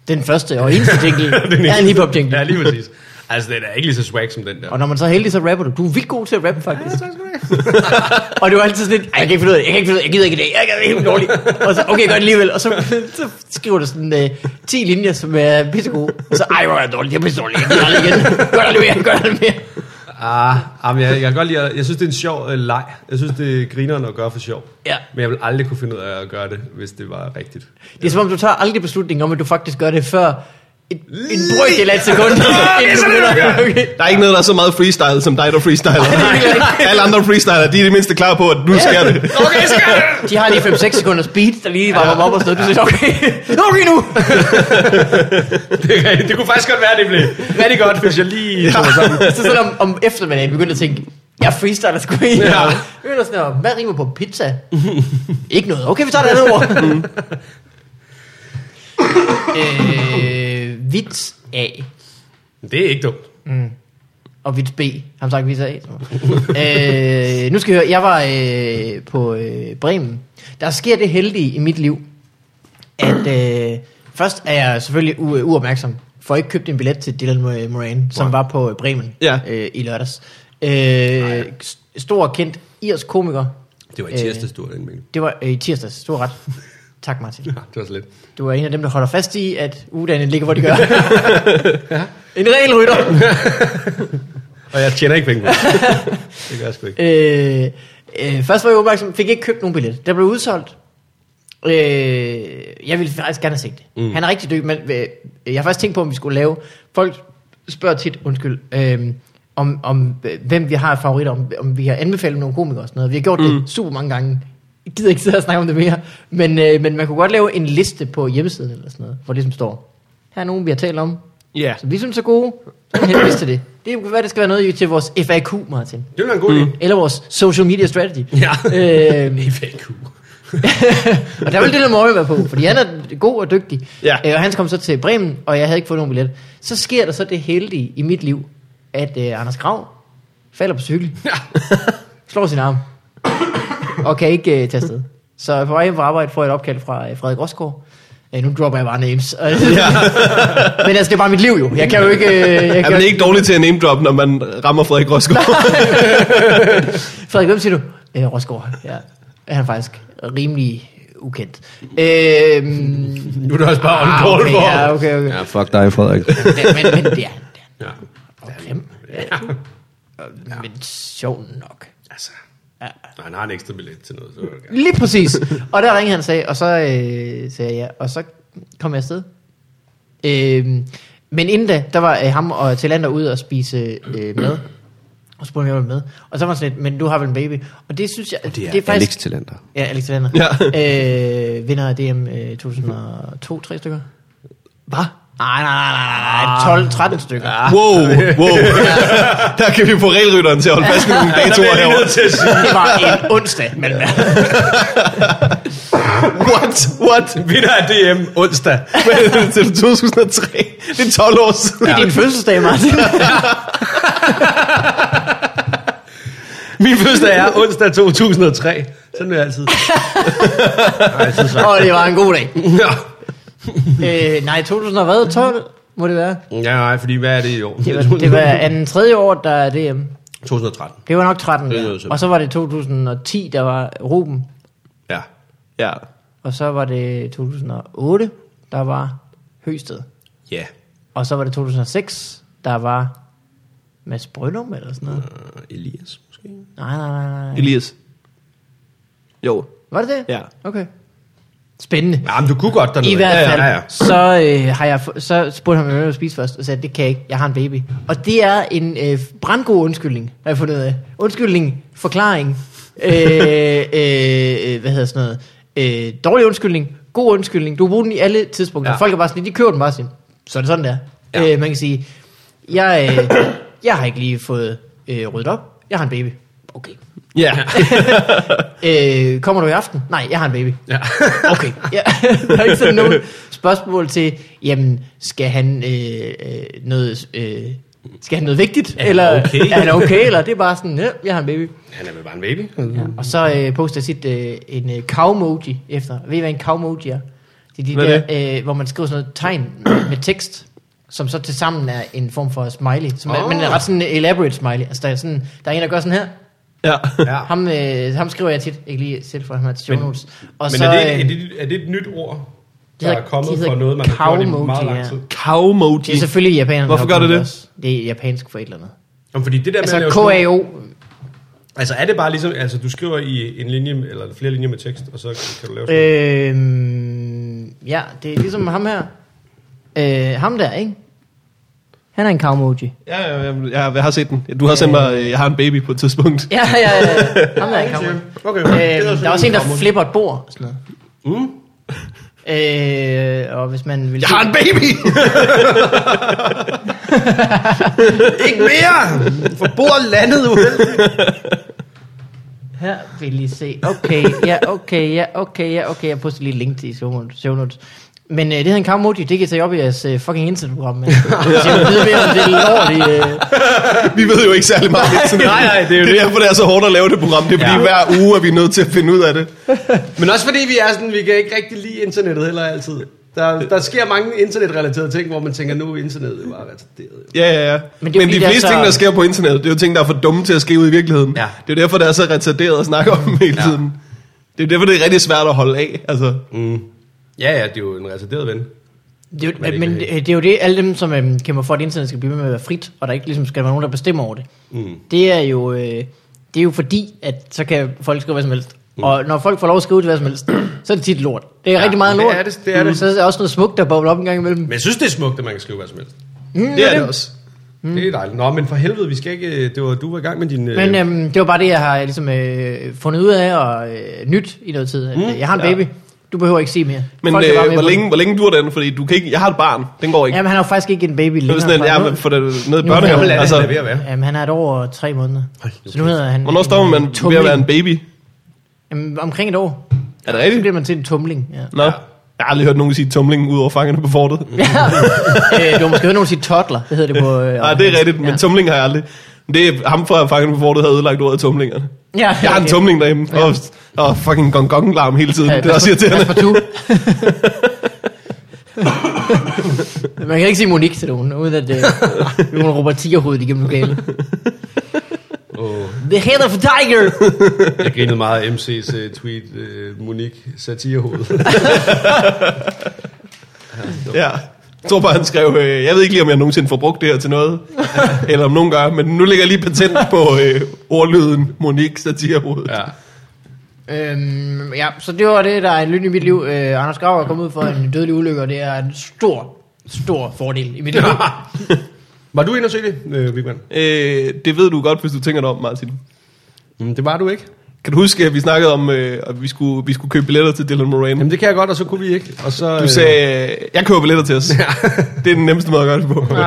S1: Den første og eneste jingle er en hiphop-jingle.
S5: Ja, lige præcis. Altså, den er ikke lige så swag som den der.
S1: Og når man så er heldig, så rapper du. Du er vildt god til at rappe, faktisk. Ja, tak skal du have. <laughs> og det var altid sådan lidt, "Ej, jeg kan ikke finde ud af det, jeg kan ikke finde ud af det, jeg gider ikke i dag, jeg er helt dårlig. Og så, okay, godt alligevel. Og så, så skriver du sådan øh, 10 linjer, som er pissegode. Og så, ej, hvor er jeg dårlig, jeg er pisse dårlig, jeg gider aldrig igen. <laughs> Gør det mere, gør det mere.
S5: Ah, ah, men jeg, jeg kan godt lide, at- jeg synes, det er en sjov øh, leg. Jeg synes, det er grineren at gøre for sjov.
S1: Ja.
S5: Men jeg vil aldrig kunne finde ud af at gøre det, hvis det var rigtigt.
S1: Det er som om, du tager aldrig beslutningen om, at du faktisk gør det før et, en brøkdel af et sekund. inden du begynder. <laughs> Okay.
S3: <laughs> Der er ikke noget, der er så meget freestyle, som dig, der freestyler. <laughs> Alle andre freestyler, de er i det mindste klar på, at nu sker det.
S1: De har lige 5-6 sekunder speed, der lige varmer dem op og sådan noget. Du siger, okay, okay nu.
S5: Det, er rigtigt. det kunne faktisk godt være, det blev rigtig godt, hvis jeg lige... Ja.
S1: <laughs> så sådan om, om eftermiddagen begyndte at tænke, jeg freestyler sgu ikke.
S5: Ja.
S1: Ja. Begyndte sådan at, hvad rimer på pizza? <laughs> ikke noget. Okay, vi tager det andet ord. <laughs> øh, vits A
S5: <laughs> Det er ikke dumt.
S1: og vits B. Ham sagt vits A. øh, nu skal jeg høre, jeg var øh, på øh, Bremen. Der sker det heldige i mit liv, at øh, først er jeg selvfølgelig u- øh, uopmærksom, for jeg ikke købte en billet til Dylan Mor- Moran, som var på øh, Bremen
S3: Ja.
S1: øh, i lørdags. Øh, s- stor kendt irsk komiker.
S5: Det var i
S1: Øh.
S5: tirsdags, du havde den mening.
S1: Det var øh, i tirsdags, du har ret. Tak Martin.
S5: <laughs> Ja, det var så lidt.
S1: Du er en af dem, der holder fast i, at ugedagene ligger, hvor de gør. ja. En regelrytter.
S5: Og jeg tjener ikke penge på
S1: <laughs>
S5: det. det gør jeg sgu ikke.
S1: Øh, øh, først var jeg opmærksom, fik ikke købt nogen billet. Der blev udsolgt. Øh, jeg ville faktisk gerne have set det. Mm. Han er rigtig dygtig, men øh, jeg har faktisk tænkt på, om vi skulle lave... Folk spørger tit, undskyld, øh, om, om øh, hvem vi har favoritter, om, om vi har anbefalet nogle komikere og sådan noget. Vi har gjort mm. det super mange gange. Jeg gider ikke sidde og snakke om det mere. Men, øh, men man kunne godt lave en liste på hjemmesiden eller sådan noget, hvor det som står. Her er nogen, vi har talt om,
S3: Ja.
S1: som vi synes er gode. Så kan vi til det. Det kan være, det skal være noget i- til vores FAQ, Martin.
S5: Det var en god idé.
S1: Eller vores social media strategy.
S5: Ja.
S1: Øhm,
S5: FAQ.
S1: <laughs> og der vil Dylan Murray være på, fordi han er god og dygtig.
S3: Ja.
S1: Øh, og han kom så til Bremen, og jeg havde ikke fået nogen billet. Så sker der så det heldige i mit liv, at øh, Anders Grav falder på cykel, <laughs> slår sin arm, og kan ikke øh, tage afsted. Så på vej hjem fra arbejde får jeg et opkald fra øh, Frederik Rosgaard. Øh, nu dropper jeg bare names. ja. <laughs> Men altså, det er bare mit liv jo. Jeg kan jo ikke... Øh, jeg
S3: Er
S1: kan
S3: man ikke dårlig til at name drop, når man rammer Frederik Rosgaard?
S1: Frederik, hvem siger du? Øh, Rosgaard. Ja. Er <laughs> han faktisk rimelig ukendt. Øh,
S5: Nu er det også bare on call
S1: okay,
S5: for.
S1: ja, okay, okay.
S6: Ja, fuck dig, Frederik.
S1: Ja, men, men det er han. Det er han.
S5: Ja.
S1: Og grim. Ja. Men sjov nok.
S5: Altså. Når han har en ekstra billet til noget, så er det gerne.
S1: Lige præcis. Og der ringede han og sagde, og så øh, sagde jeg ja, og så kom jeg afsted. Øh, men inden da, der var øh, ham og Talander ude og spise øh, mad. Og så spurgte jeg, om jeg var med. Og så var han sådan lidt, men du har vel en baby. Og det synes jeg,
S6: Det er, det er Alex Talander.
S1: Ja, Alex Talander. Ja. Øh, vinder af DM øh, 2002, tre stykker. Hvad? Nej, nej, nej, nej, nej, 12, 13 stykker. Ja.
S3: <laughs> Wow, <laughs> wow. Der kan vi få regelrytteren til at holde fast i nogle datoer herovre.
S5: til at sige,
S1: Det var en onsdag, men
S3: What? What?
S5: vinder af DM onsdag.
S3: Men <laughs> Til 2003. Det er 12 år siden.
S1: det er din fødselsdag, Martin.
S5: Min fødselsdag er onsdag 2003. Sådan er
S1: <laughs>
S5: jeg altid.
S1: og det var en god dag.
S5: Ja.
S1: øh, nej, 2012 må det være.
S5: ja, nej, fordi hvad er det i år?
S1: Det var, det var
S5: <laughs>
S1: anden tredje år, der er DM.
S5: 2013.
S1: Det var nok 13.
S5: Det er
S1: Der.
S5: noget, så-
S1: Og så var det 2010, der var Ruben.
S5: Ja.
S3: Ja.
S1: Og så var det 2008, der var Høsted.
S5: Ja.
S1: Og så var det 2006, der var Mads Brøndum eller sådan noget.
S5: Øh, Elias måske?
S1: Nej, nej, nej, nej.
S3: Elias. Jo.
S1: Var det det?
S3: Ja.
S1: Okay. Spændende.
S5: Ja, men du kunne godt dernede.
S1: I hvert fald,
S5: Ja, ja, ja.
S1: så, øh, har jeg, fu- så spurgte han mig, hvad jeg ville spise først, og sagde, det kan jeg ikke, jeg har en baby. Og det er en øh, brandgod undskyldning, har jeg fundet ud af. Undskyldning, forklaring, øh, øh, øh, hvad hedder sådan noget, øh, dårlig undskyldning, god undskyldning. Du kan bruge den i alle tidspunkter. Ja.
S5: Ja.
S1: Folk er bare sådan, lidt, de kører den bare sådan, så er det sådan der. Ja. Øh, man kan sige, jeg, øh, jeg har ikke lige fået øh, ryddet op, jeg har en baby. Okay.
S3: Ja.
S1: <laughs> Øh, kommer du i aften? Nej, jeg har en baby.
S5: Ja.
S1: Okay. <laughs> Ja, der er ikke sådan nogen spørgsmål til, jamen, skal han øh, øh, noget... Øh, skal han noget vigtigt?
S5: han
S1: eller
S5: okay?
S1: Er han okay? Eller det er bare sådan, ja, jeg har en baby.
S5: Han er vel bare en baby.
S1: Ja. Og så øh, poster jeg sit øh, en øh, cowmoji efter. Ved I, hvad en cowmoji er? Det er de
S3: Hvad er
S1: der, øh, hvor man skriver sådan noget tegn med tekst. som så til sammen er en form for smiley, som oh. er,
S2: Åh.
S1: men er ret sådan en elaborate smiley. Altså, der er, sådan, der er en, der gør sådan her.
S3: Ja.
S2: Ja.
S1: Ham, øh, ham skriver jeg tit, ikke lige selv for ham er til show
S2: Men-
S1: notes. Og
S2: Men
S1: så,
S2: er, det, ikke-
S1: øh,
S2: er, det, er det et nyt ord,
S1: de
S2: der
S1: hedder-
S2: er kommet
S1: de hedder
S2: fra noget, man har gjort i
S1: cowmoji,
S2: meget lang
S1: ja.
S2: tid?
S1: det er
S3: Cowmoji.
S1: selvfølgelig japanerne.
S3: Hvorfor
S1: der har
S3: gør
S1: kommet
S3: det det?
S1: også. Det er japansk for et eller andet.
S2: Jamen, fordi det der med at
S1: Altså
S2: lave små-
S1: KAO,
S2: Altså er det bare ligesom, altså du skriver i en linje, eller flere linjer med tekst, og så kan du lave sådan
S1: øh, ja, det er ligesom ham her. Øh, ham der, ikke? Han er en cowmoji.
S3: Ja, ja, ja, ja, jeg har set den. Du har sendt mig, øh, jeg har en baby på et tidspunkt.
S1: Ja, ja, ja.
S2: <laughs>
S1: Ham der er en cowmoji.
S2: Okay,
S1: Øh, der er også en, der
S2: cowmoji.
S1: flipper et bord og sådan noget.
S2: Mm.
S1: Øh, og hvis man vil
S3: Jeg har en baby!
S2: <laughs> Ikke mere! For bordet landede uheldigt.
S1: Her vil I lige se. Okay, ja, okay, ja, okay, ja, okay. Jeg poster lige et link til i show notes- show notes. Men øh, det hedder en kammoji, det kan I tage op i jeres øh, fucking internetprogram. Men <laughs> så jeg ved mere om det er lort i... Øh.
S3: Vi ved jo ikke særlig meget om internet.
S2: Nej, nej, det er jo
S3: det er derfor, det er så hårdt at lave det program. Det er fordi, ja.
S2: Ja.
S3: hver uge er vi nødt til at finde ud af det.
S2: Øh, Men også fordi vi er sådan, vi kan ikke rigtig lide internettet heller altid. Der, der sker mange internetrelaterede ting, hvor man tænker, nu er internettet bare retarderet.
S3: Ja, ja, ja.
S1: Men
S3: Men,
S1: det er jo
S3: Men
S1: fordi,
S3: de
S1: det er
S3: fleste
S1: så-
S3: ting, der sker på internettet, det er jo ting, der er for dumme til at ske ud i virkeligheden.
S2: Ja.
S3: Det er jo derfor, det er så retarderet at snakke om hele
S2: Ja.
S3: tiden. Det er jo derfor, det er rigtig svært at holde af. Altså,
S2: Mm. Ja, ja, det er jo en retarderet ven.
S1: Det er, jo-
S2: Men det
S1: men øh,
S2: kan
S1: det, det er jo det, alle dem, som øhm, kæmper for, at internet skal blive ved med at være frit, og der ikke ligesom skal være nogen, der bestemmer over det.
S2: Mm.
S1: Det er jo, øh, det er jo fordi, at så kan folk skrive hvad som helst. Mm. Og når folk får lov at skrive hvad som helst, så er det tit lort. Det er ja, rigtig meget
S2: det
S1: lort.
S2: er det, det er
S1: Mm,
S2: det.
S1: Så er der også noget smukt, der bobler op en gang imellem.
S2: Men jeg synes, det er smukt, at man kan skrive hvad som helst.
S1: Mm,
S3: det er det også.
S2: Mm. Det er dejligt. Nå, men for helvede, vi skal ikke... øh, Det var, du var i gang med din... øh-
S1: Men
S3: Øh,
S1: øhm, det var bare det, jeg har ligesom, øh, fundet ud af, og øh, nyt i noget tid. Mm, jeg har en baby. Du behøver ikke sige mere.
S3: Men
S1: Folk er bare
S3: øh,
S1: med
S3: hvor,
S1: på
S3: længe, hvor længe dur den? Fordi du kan ikke, jeg har et barn. Den går
S1: det.
S3: ikke.
S1: Jamen, han har jo faktisk ikke en baby
S3: Nu er
S1: længere.
S3: det sådan, at
S1: fra
S3: jeg
S1: nu.
S3: har fået det ned i
S1: Nu er
S3: børnehaven.
S1: han-
S2: altså,
S3: Altså,
S2: er ved at være.
S1: Jamen, han er et år og tre måneder. Så nu hedder han...
S3: hvornår stopper man ved at være en baby?
S1: Jamen, omkring et år.
S3: Er det
S1: Så
S3: rigtigt?
S1: bliver man til en tumling, ja. <laughs>
S3: Nå. Jeg har aldrig hørt nogen sige tumlingen ud over fangerne på fortet.
S1: øh, du har måske hørt nogen sige toddler, det hedder det på... Øh,
S3: Nej, Ah, det er rigtigt, men tumling har jeg aldrig. Men Det er ham fra fangerne på fortet, der har ødelagt ordet tumlingerne.
S1: <laughs> Ja,
S3: Jeg har en tumling derhjemme. Og, og fucking gong gong larm hele tiden. Det er også irriterende. <laughs>
S1: Man kan ikke sige Monique til nogen, uden at øh, hun råber tigerhovedet igennem lokalet.
S2: Åh.
S1: The head of a tiger!
S2: Jeg grinede meget af MC's uh, tweet, uh, Monique satirehoved.
S3: Ja. Jeg tror bare, han skrev, øh, jeg ved ikke lige, om jeg nogensinde får brugt det her til <laughs> noget, eller om nogen gør, men nu ligger jeg lige patent på øh, ordlyden Monique Satirhovedet. Ja.
S2: ja.
S1: <laughs> Øhm, ja, så det var det, der er en lyt i mit liv. Øh, Anders Grav er kommet ud for en dødelig ulykke, og det er en stor, stor fordel i mit
S2: <laughs>
S1: liv.
S2: Var du inde og se det, øh, Vigman?
S3: Øh, det ved du godt, hvis du tænker dig om, Martin.
S2: Mm, det var du ikke.
S3: Kan du huske, at vi snakkede om, øh, at vi skulle, vi skulle købe billetter til Dylan Moran?
S2: Jamen det kan jeg godt, og så kunne vi ikke. Og så,
S3: Du sagde, øh, jeg køber billetter til
S5: <laughs>
S3: os. Det er den nemmeste måde at gøre det på.
S1: Åh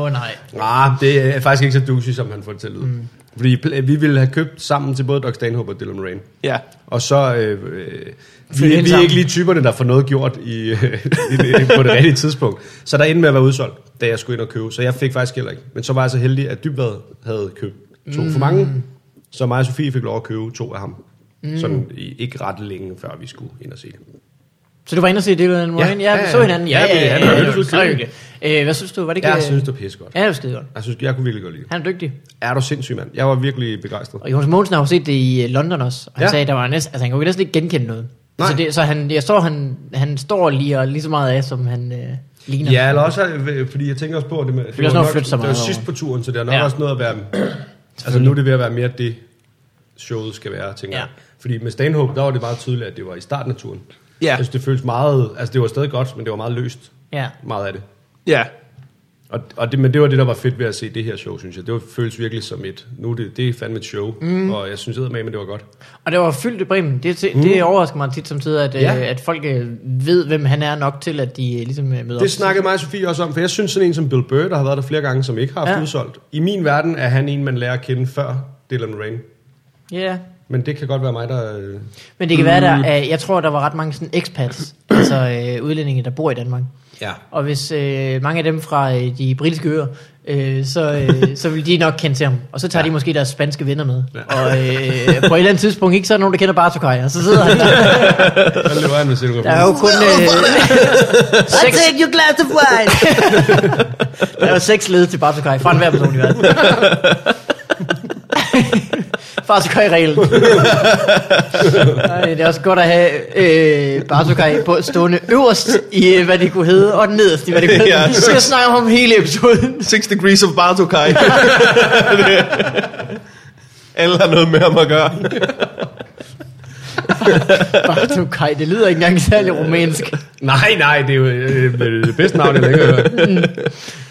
S1: oh, nej.
S2: Nej, Ah, det er faktisk ikke så douchey, som han får det til at lyde. Mm. Fordi pl- vi ville have købt sammen til både Doc Stanhope og Dylan Moran.
S3: Ja.
S2: Og så... Øh, øh, vi,
S1: Flytte ind
S2: vi er
S1: sammen.
S2: ikke lige typerne, der får noget gjort i, <laughs> øh, i, i, på det rigtige tidspunkt. Så der endte med at være udsolgt, da jeg skulle ind og købe. Så jeg fik faktisk heller ikke. Men så var jeg så heldig, at Dybvad havde købt to mm. for mange. Så mig og Sofie fik lov at købe to af ham. Mm. Sådan i, ikke ret længe, før vi skulle ind og se det.
S1: Så du var inde og se det, eller morgen? Ja, ja, ja, vi så hinanden. Ja, ja, ja, ja,
S2: vi
S1: ja, ja,
S2: hørte
S1: det var
S2: ud til
S1: så
S2: det.
S1: hyggeligt. Øh, hvad synes du? Var det ikke...
S2: Jeg
S1: øh,
S2: synes, det var pissegodt.
S1: Ja, det var skide godt.
S2: Jeg synes, jeg kunne virkelig godt lide det.
S1: Han er dygtig.
S2: Er du sindssyg, mand? Jeg var virkelig begejstret.
S1: Og Jonas Mogensen har jo set det i øh, London også. Og han ja.
S2: Ja.
S1: sagde, der var næsten, altså han kunne jo næsten ikke genkende noget.
S2: Nej.
S1: Så, det, så han, jeg tror, han, han står lige og lige så meget af, som han øh, ligner.
S2: Ja, eller også, øh, fordi jeg tænker også på, at det, med, det,
S1: er også noget at flytte sig
S2: det var
S1: meget
S2: sidst
S1: over.
S2: på turen, så det er nok
S1: Ja.
S2: ja. også noget at være... altså nu er det ved at være mere det, showet skal være, tænker
S1: Ja.
S2: ja. jeg. Fordi med Stanhope, der var det meget tydeligt, at det var i starten af turen.
S3: Ja.
S2: Jeg synes, det føles meget... Altså det var stadig godt, men det var meget løst,
S1: ja.
S2: meget af det.
S3: Ja.
S2: Og, og det, men det var det, der var fedt ved at se det her show, synes jeg. Det var, føles virkelig som et... Nu er det, det er fandme et show, mm. og jeg synes med, men det var godt.
S1: Og det var fyldt i Bremen. Det, mm. det overrasker mig tit som tider, at, ja.
S2: Ja.
S1: øh, at folk øh, ved, hvem han er nok til, at de øh, ligesom øh, møder op.
S2: Det snakkede mig og Sofie også om, for jeg synes sådan en som Bill Burr, der har været der flere gange, som ikke har haft
S1: Ja.
S2: ja. udsolgt. I min verden er han en, man lærer at kende før Dylan Rain.
S1: Ja.
S2: Men det kan godt være mig, der... øh,
S1: Men det kan mm. være, der, øh, jeg tror, der var ret mange sådan expats, <clears throat> altså øh, udlændinge, der bor i Danmark.
S5: Ja.
S1: Og hvis øh, mange af dem fra øh, de britiske øer, øh, så, <laughs> øh, så vil de nok kende til ham. Og så tager ja. de måske deres spanske venner med. Ja. Og øh, på et eller andet tidspunkt, ikke så er der nogen, der kender Bartokaj, og så sidder <laughs> han der.
S2: Hvad løber han med sin
S1: Der er jo kun... Øh,
S6: <laughs>
S1: seks,
S6: Take your glass of wine.
S1: <laughs> der er jo seks led til Bartokaj, fra enhver person
S6: <laughs>
S1: i verden. Bartokaj-reglen. Ej, det er også godt at have øh, Bartokaj på stående øverst i, øh, hvad det kunne hedde, og nederst i, hvad det kunne hedde.
S3: Ja,
S1: Vi skal snakke om ham hele episoden.
S3: Six Degrees of Bartokai. <laughs> Alle har noget med ham at gøre.
S1: Bartokaj, det lyder ikke engang særlig rumænsk.
S5: Nej, nej, det er jo øh, øh, det bedste navn, jeg længe har hørt.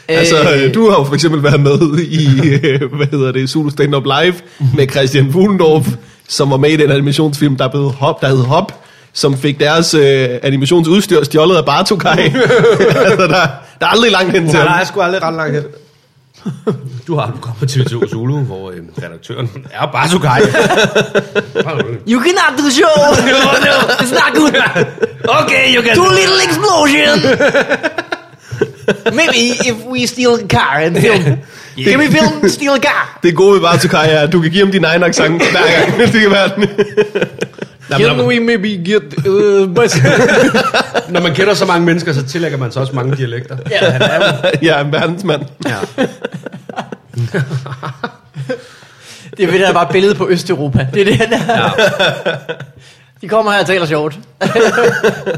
S3: Altså, øh, du har jo for eksempel været med i, øh, hvad hedder det, Zulu Stand Up Live med Christian Fuglendorf, som var med i den animationsfilm, der, blev hop, der hed Hop, som fik deres øh, animationsudstyr stjålet af Bartokai.
S5: <laughs>
S3: altså, der, der er aldrig langt hen til
S5: Nej, der
S3: ham.
S5: er sgu aldrig ret langt hen. <laughs> Du har du kommer på TV2 Zulu, hvor øh, redaktøren er bare så gej.
S6: you cannot do show.
S5: <laughs> No, no.
S6: It's not good.
S5: <laughs> Okay, you can.
S6: Do little
S5: <laughs>
S6: explosion. Maybe if we steal a car and
S5: <laughs>
S6: film. Yeah. Can we film steal a car?
S3: Det gode ved Bartokai er, at du kan give ham din egen accent hver gang. <laughs> det kan være den.
S5: Jamen,
S1: we maybe get uh, bus?
S5: når, når man kender så mange mennesker, så tillægger man så også mange dialekter. <laughs> <laughs> Ja, han er jo.
S3: ja, en verdensmand.
S5: Ja.
S1: det er det, der var billedet på Østeuropa. Det er
S6: <laughs>
S1: det, der. Ja. De kommer her og taler sjovt.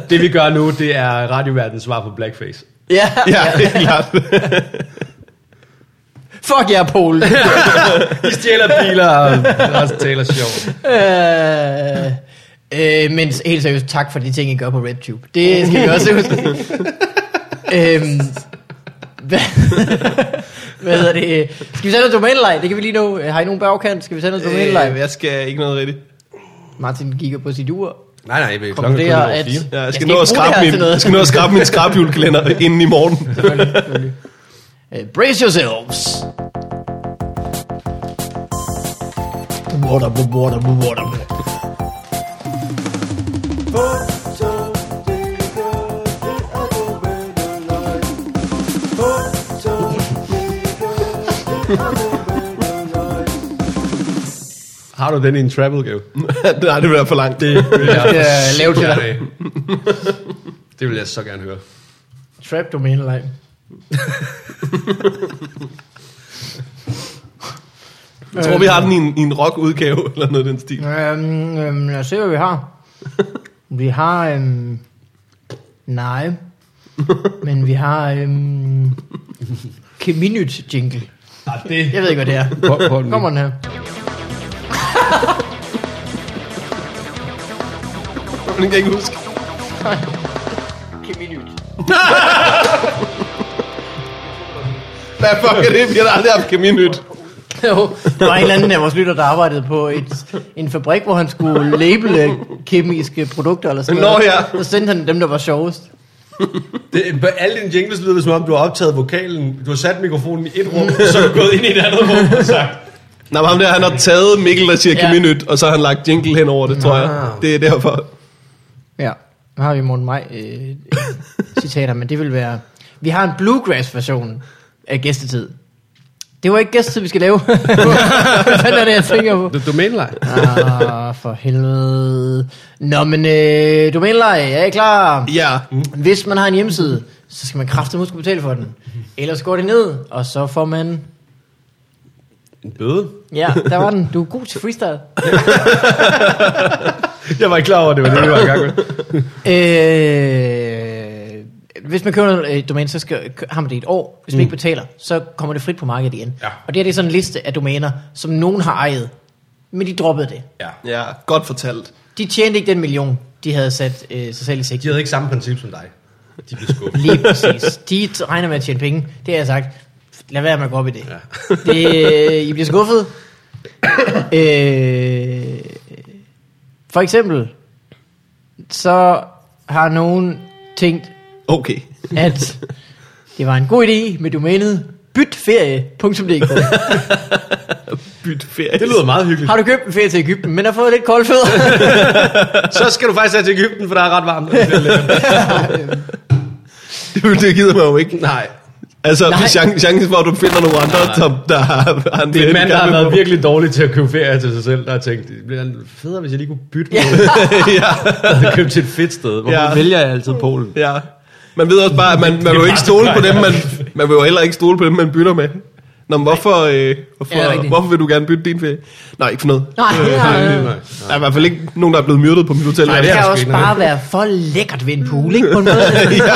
S5: Det vi gør nu, det er radioverdens svar på blackface.
S6: <laughs>
S1: Ja.
S3: Ja, det er klart.
S1: Fuck jer, Polen.
S5: <laughs> De stjæler biler, og resten taler sjovt.
S1: øh, øh, men helt seriøst, tak for de ting, I gør på RedTube. Det skal vi også <laughs> huske. øhm, hvad, hvad hedder det? Skal vi sende noget domænelej? Det kan vi lige nå. Øh, Har I nogen bagkant? Skal vi sende noget
S3: Øh,
S1: domænelej?
S3: jeg skal ikke noget rigtigt.
S1: Martin kigger på sit ur.
S5: Nej, nej, klokken er kun
S1: Konkluderer,
S5: over
S1: at-
S5: fire.
S3: Ja,
S1: Jeg
S3: jeg, jeg,
S1: skal
S3: skal
S1: ikke
S3: nå at
S1: bruge det
S3: skrabe
S1: her til
S3: min,
S1: noget.
S3: jeg skal nå at skrabe min skrabhjulkalender inden i morgen.
S1: selvfølgelig, selvfølgelig. Uh, brace yourselves. Water, water, water.
S5: Har du den i en travel-gave?
S3: Nej, det bliver for langt. Det,
S5: Det vil jeg,
S1: Øh, lav til dig.
S5: det vil jeg så gerne høre.
S1: Trap domænelej.
S3: jeg tror, vi har den i en, i en rock-udgave, eller noget i den stil.
S1: Øhm, øhm, lad os se, hvad vi har. Vi har... Øhm, nej. Men vi har... Øhm, Keminyt jingle.
S5: Ah, det
S1: Jeg ved ikke, hvad det er.
S5: Prøv- prøv den lige.
S1: Kommer den her.
S3: Det kan jeg ikke huske.
S1: Keminyt.
S3: Hvad fuck er det? Vi har da aldrig haft kaminnyt.
S1: Jo, der var en eller anden af vores lytter, der arbejdede på et, en fabrik, hvor han skulle label kemiske produkter eller sådan
S3: Nå,
S1: noget.
S3: ja.
S1: Så sendte han dem, der var sjovest.
S5: Det, på alle dine jingles lyder det, som om du har optaget vokalen. Du har sat mikrofonen i et rum, og så er du gået ind i et andet rum og sagt...
S3: Nå, men ham der, han har taget Mikkel, der siger
S1: Ja.
S3: kaminnyt, og så har han lagt jingle hen over det, tror jeg. Det er derfor.
S1: Ja, nu har vi Morten Maj øh,
S5: <laughs>
S1: citater, men det vil være... Vi har en bluegrass-version af gæstetid. Det var ikke gæstetid, vi skal lave. <laughs> Hvad fanden er det, jeg tænker på?
S5: Du, du mener
S1: Ah, for helvede. Nå, men øh, domæneleje, er I klar?
S3: Ja.
S1: Hvis man har en hjemmeside, så skal man kraftigt skulle betale for den. Ellers går det ned, og så får man...
S5: En bøde?
S1: Ja, der var den. Du er god til freestyle.
S5: Jeg var ikke klar over, at det var det, vi var i gang med.
S1: Øh, hvis man køber et domæne, så skal, kø- har man det i et år. Hvis man ikke betaler, så kommer det frit på markedet igen.
S5: Ja.
S1: Og det her det er sådan en liste af domæner, som nogen har ejet, men de droppede det.
S5: Ja.
S3: Ja, godt fortalt.
S1: De tjente ikke den million, de havde sat øh, sig selv i sigt.
S5: De havde ikke samme princip som dig. De blev skuffet.
S1: Lige præcis. De t- regner med at tjene penge. Det har jeg sagt. Lad være med at gå op i det. Ja. det øh, I bliver skuffet. øh, for eksempel, så har nogen tænkt,
S3: Okay.
S1: at det var en god idé med domænet, Bytferie.dk
S3: Byt ferie.
S2: Det lyder meget hyggeligt.
S1: Har du købt en ferie til Ægypten, men har fået lidt kolde fødder?
S2: Så skal du faktisk have til Ægypten, for der er ret varmt.
S3: det, det gider man jo ikke.
S2: Nej.
S3: Altså,
S1: Nej.
S3: chancen, chancen for, at du finder nogle andre, som der har, har en
S2: Det er en mand, der har
S3: handicap
S2: været
S3: på.
S2: virkelig dårlig til at købe ferie til sig selv, der har tænkt, det bliver federe, hvis jeg lige kunne bytte <laughs> mig. ja. Jeg købte til et fedt sted. Hvorfor
S3: Ja.
S2: ja. vælger jeg altid Polen?
S3: Ja. Man ved også bare, at man, man vil jo ikke stole på dem, man, man vil jo heller ikke stole på dem, man bytter med. Nå, men hvorfor, øh, hvorfor,
S1: Ja,
S3: ja,
S1: rigtigt.
S3: hvorfor vil du gerne bytte din ferie? Nej, ikke for noget. Øh,
S1: Nej, nej, nej.
S3: Der er i hvert fald ikke nogen, der er blevet myrdet på mit hotel.
S2: Nej, det
S1: Det
S2: er
S1: kan
S2: sgu
S1: også
S2: ikke
S1: bare være for lækkert ved en pool, ikke? På en måde. <laughs> ja.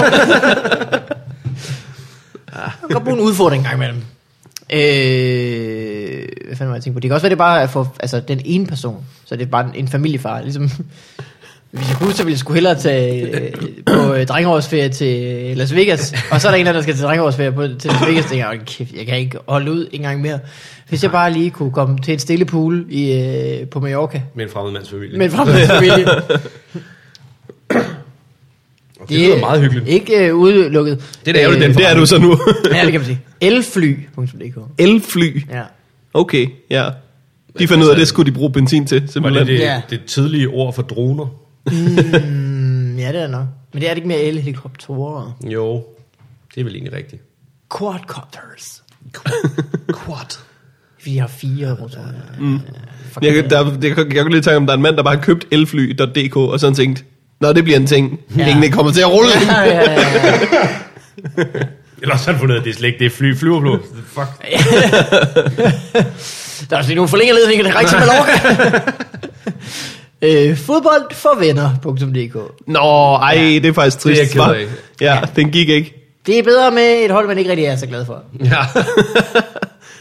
S1: Man kan godt bruge en udfordring engang imellem. Øh, hvad fanden var jeg tænkt på? Det kan også være, det er bare er for altså, den ene person. Så det er bare en, en familiefar. Ligesom, hvis jeg kunne, så ville jeg sgu hellere tage øh, på øh, drengeårsferie til øh, Las Vegas. Og så er der en, eller anden, der skal til drengeårsferie på, til Las Vegas. Tænker, jeg, "Åh, kæft, jeg kan ikke holde ud en gang mere. Hvis jeg bare lige kunne komme til en stille pool i, øh, på Mallorca.
S2: Med en fremmed mands familie.
S1: Men fra min
S2: <coughs>
S1: familie.
S2: det, det lyder meget hyggeligt.
S1: Ikke øh, udelukket. Øh,
S2: Det er da ærgerligt,
S3: Men
S2: den
S3: Øh, det er du så nu.
S1: <laughs>
S3: <laughs>
S1: Ja, det kan man sige. Elfly.dk
S3: Elfly.
S1: Ja.
S3: Okay, ja. De fandt ud af, at det skulle de bruge benzin til,
S2: Var
S3: simpelthen.
S2: det det,
S1: Ja.
S2: ja. det tidlige ord for droner?
S1: Mm, ja, det er det nok. Men det er det ikke mere elhelikopterer.
S2: Jo, det er vel egentlig rigtigt.
S1: Quadcopters. <laughs> Quad. Fordi de har fire motorer. Mm. Fuck,
S3: Jeg, kan- der, jeg, kan- jeg kunne lige tænke, om der er en mand, der bare har købt elfly.dk, og sådan tænkt, Nå, det bliver en ting. Ja.
S1: Ja.
S3: Ingen kommer til at rulle.
S1: <laughs> ja, ja, ja.
S2: Eller også har han fundet, ud af, at det er slet ikke det er fly, flyverblå. Fuck.
S1: Der er også lige nogle forlængede ledninger, der rækker til
S2: <laughs>
S1: Mallorca. øh, fodboldforvenner.dk
S3: Nå, ej, det er faktisk
S2: er
S3: trist.
S2: jeg ked
S3: hva'?
S2: af.
S3: Ja, den gik ikke. <laughs>
S1: Det er bedre med et hold, man ikke rigtig er så glad for.
S2: <laughs> Ja.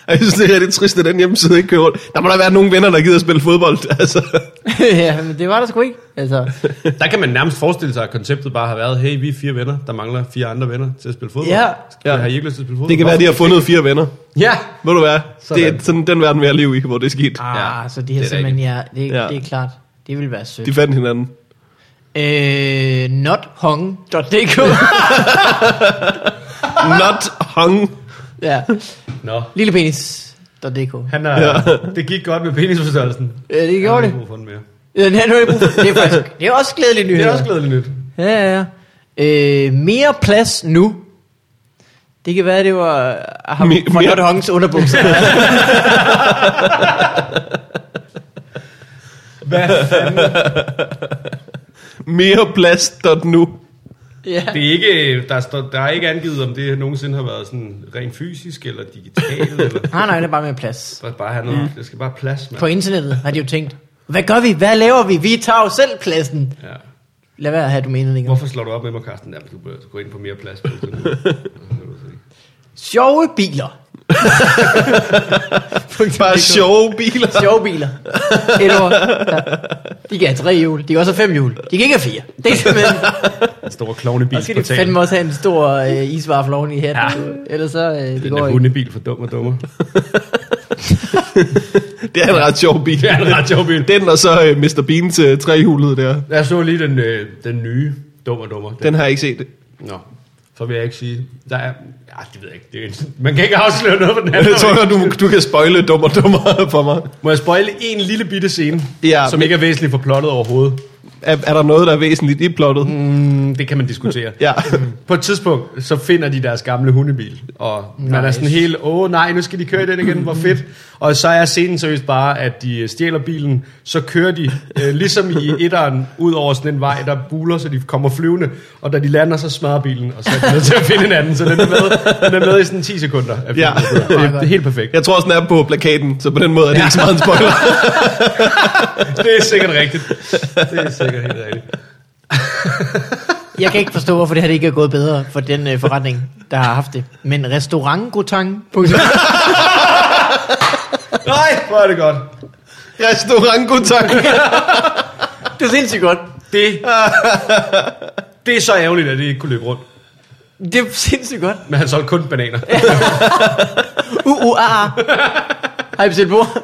S3: Og Jeg synes, det er rigtig trist, at den hjemmeside ikke kører rundt. Der må der være nogle venner, der gider at spille fodbold. <laughs> Altså.
S1: ja, men det var der sgu ikke. Altså,
S2: Der kan man nærmest forestille sig, at konceptet bare har været, hey, vi er fire venner, der mangler fire andre venner til at spille fodbold.
S1: Ja.
S2: Skal ja. Har I ikke lyst til at spille fodbold?
S3: Det kan være, at de har fundet fire venner.
S2: Ja.
S3: Ved du hvad? Det er
S2: Sådan.
S3: sådan den verden, vi har levet i, hvor det er sket.
S1: Ah,
S2: Ja,
S1: ja, så de her
S2: det er
S1: simpelthen, ja, det,
S3: Ja.
S1: ja. det er klart. Det vil være sødt.
S3: De fandt hinanden.
S1: Øh, nothong.dk
S3: Not hung.
S1: Ja,
S2: Nå.
S1: lillepenis.dk
S2: Han er,
S3: Ja.
S2: ja. Det gik godt med penisforstørrelsen.
S1: Ja, Øh, det
S2: Han
S1: gjorde
S2: har
S1: det.
S2: ikke brug for den mere.
S1: Ja, det er, nu er det, brug for- det er faktisk, det er også glædeligt nyheder.
S2: Det er også glædeligt nyt.
S1: Ja, ja, ja. Øh, mere plads nu. Det kan være, det var ah, ham
S3: Me-
S1: fra
S3: mere-
S1: Not Hongs underbukser.
S2: Hvad fanden?
S3: Mereplads.nu.
S1: ja.
S2: Det er ikke, der, står, der er ikke angivet, om det nogensinde har været sådan rent fysisk eller digitalt. eller, <laughs>
S1: Nej, nej, det er bare mere plads.
S2: der, bare have noget, ja. der skal bare plads, mand.
S1: På internettet har de jo tænkt, hvad gør vi? Hvad laver vi? Vi tager jo selv pladsen.
S2: Ja.
S1: Lad være at have domænet
S2: Hvorfor slår du op med mig, Carsten? Jamen, du bør gå ind på mere plads. på det.
S1: Sjove biler.
S3: Bare sjove biler.
S1: Sjove biler. <laughs> Et år. Ja. De kan have tre hjul. De kan også have fem hjul. De kan ikke have fire. Det er
S2: <laughs>
S1: simpelthen...
S2: Den store klovnebil
S1: Og skal de fandme også have en stor øh, isvaffel oven i hatten. Ja. Ellers så øh, det
S2: Den
S1: går
S2: er
S1: ikke.
S2: hundebil for dum og dummer.
S3: Det er en ret sjov bil.
S2: Det er en ret sjov bil.
S3: Den og så øh, Mr. Bean til trehjulet der.
S2: Jeg så lige den, øh, den nye dum og dummer. Den.
S3: Den har jeg ikke set.
S2: Nå, så vil jeg ikke sige. Der er, ja, det ved jeg ikke. Det er, en- man kan ikke afsløre noget på <laughs> den
S3: Jeg tror
S2: her.
S3: godt, du, du kan spoile dummer dummer for mig.
S2: Må jeg spoile en lille bitte scene,
S3: Ja,
S2: ja, som
S3: men-
S2: ikke er væsentlig for plottet overhovedet?
S3: Er, er der noget, der er væsentligt i plottet? Mm.
S2: Mm, Det kan man diskutere.
S3: Ja.
S2: På et tidspunkt, så finder de deres gamle hundebil, og nice. man er sådan helt, åh oh, nej, nu skal de køre i den igen, hvor fedt. <laughs> Og så er scenen seriøst bare, at de øh, stjæler bilen, så kører de, øh, ligesom i etteren, ud over sådan en vej, der buler, så de kommer flyvende, og da de lander, så smadrer bilen, og så er de nødt til at finde en anden, så den er med, den er med i sådan 10 sekunder. af
S3: Ja.
S2: filmen. Det, er- det er helt perfekt.
S3: Jeg tror også, den er på plakaten, så på den måde er det ikke så meget en spoiler. <laughs>
S2: Det er sikkert rigtigt. Det er sikkert helt rigtigt.
S1: Jeg kan ikke forstå, hvorfor det her det ikke er gået bedre for den øh, forretning, der har haft det. Men <laughs> restaurantgotang.
S2: Nej, hvor er det godt.
S3: Restaurantkontakt.
S1: det er sindssygt godt.
S2: Det, det er så ærgerligt, at det ikke kunne løbe rundt.
S1: Det er sindssygt godt.
S2: Men han solgte kun
S1: <laughs>
S2: bananer.
S1: Uh, uh, ah, ah. Har I bestilt bord?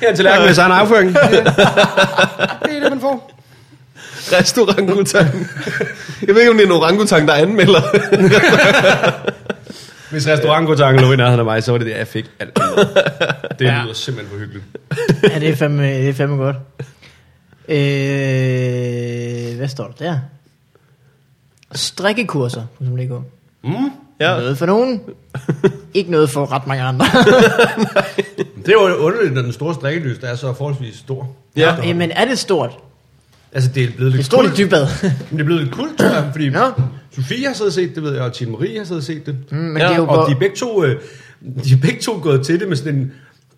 S2: Her er en tallerken, hvis han er en
S3: <laughs>
S2: afføring.
S3: Restaurantkontakt. Jeg ved ikke, om det er en orangutang, der anmelder. <laughs>
S2: Hvis restaurantgodangen lå i nærheden af mig, så var det det, jeg fik alt Det ja. lyder simpelthen for hyggeligt.
S1: Ja, det er fandme, det er fandme godt. Øh, hvad står der der? Strikkekurser, som det går.
S2: Mm,
S3: ja.
S1: Noget for nogen. Ikke noget for ret mange
S2: <laughs>
S1: andre.
S2: Det er jo underligt, når den store strikkelys, der er så forholdsvis stor.
S3: Ja.
S1: Men er det stort?
S2: Altså, det er blevet
S1: Det
S2: lidt
S1: er stort i
S2: kult. <laughs>
S1: dybbad.
S2: Men det er blevet lidt kult, tror jeg, fordi
S1: Nå.
S2: Sofie har siddet og set det, ved jeg, og Tine Marie har siddet og set det. Mm,
S1: men det er jo
S2: og
S1: hvor-
S2: de er, begge to, øh, de er begge to gået til det med sådan en,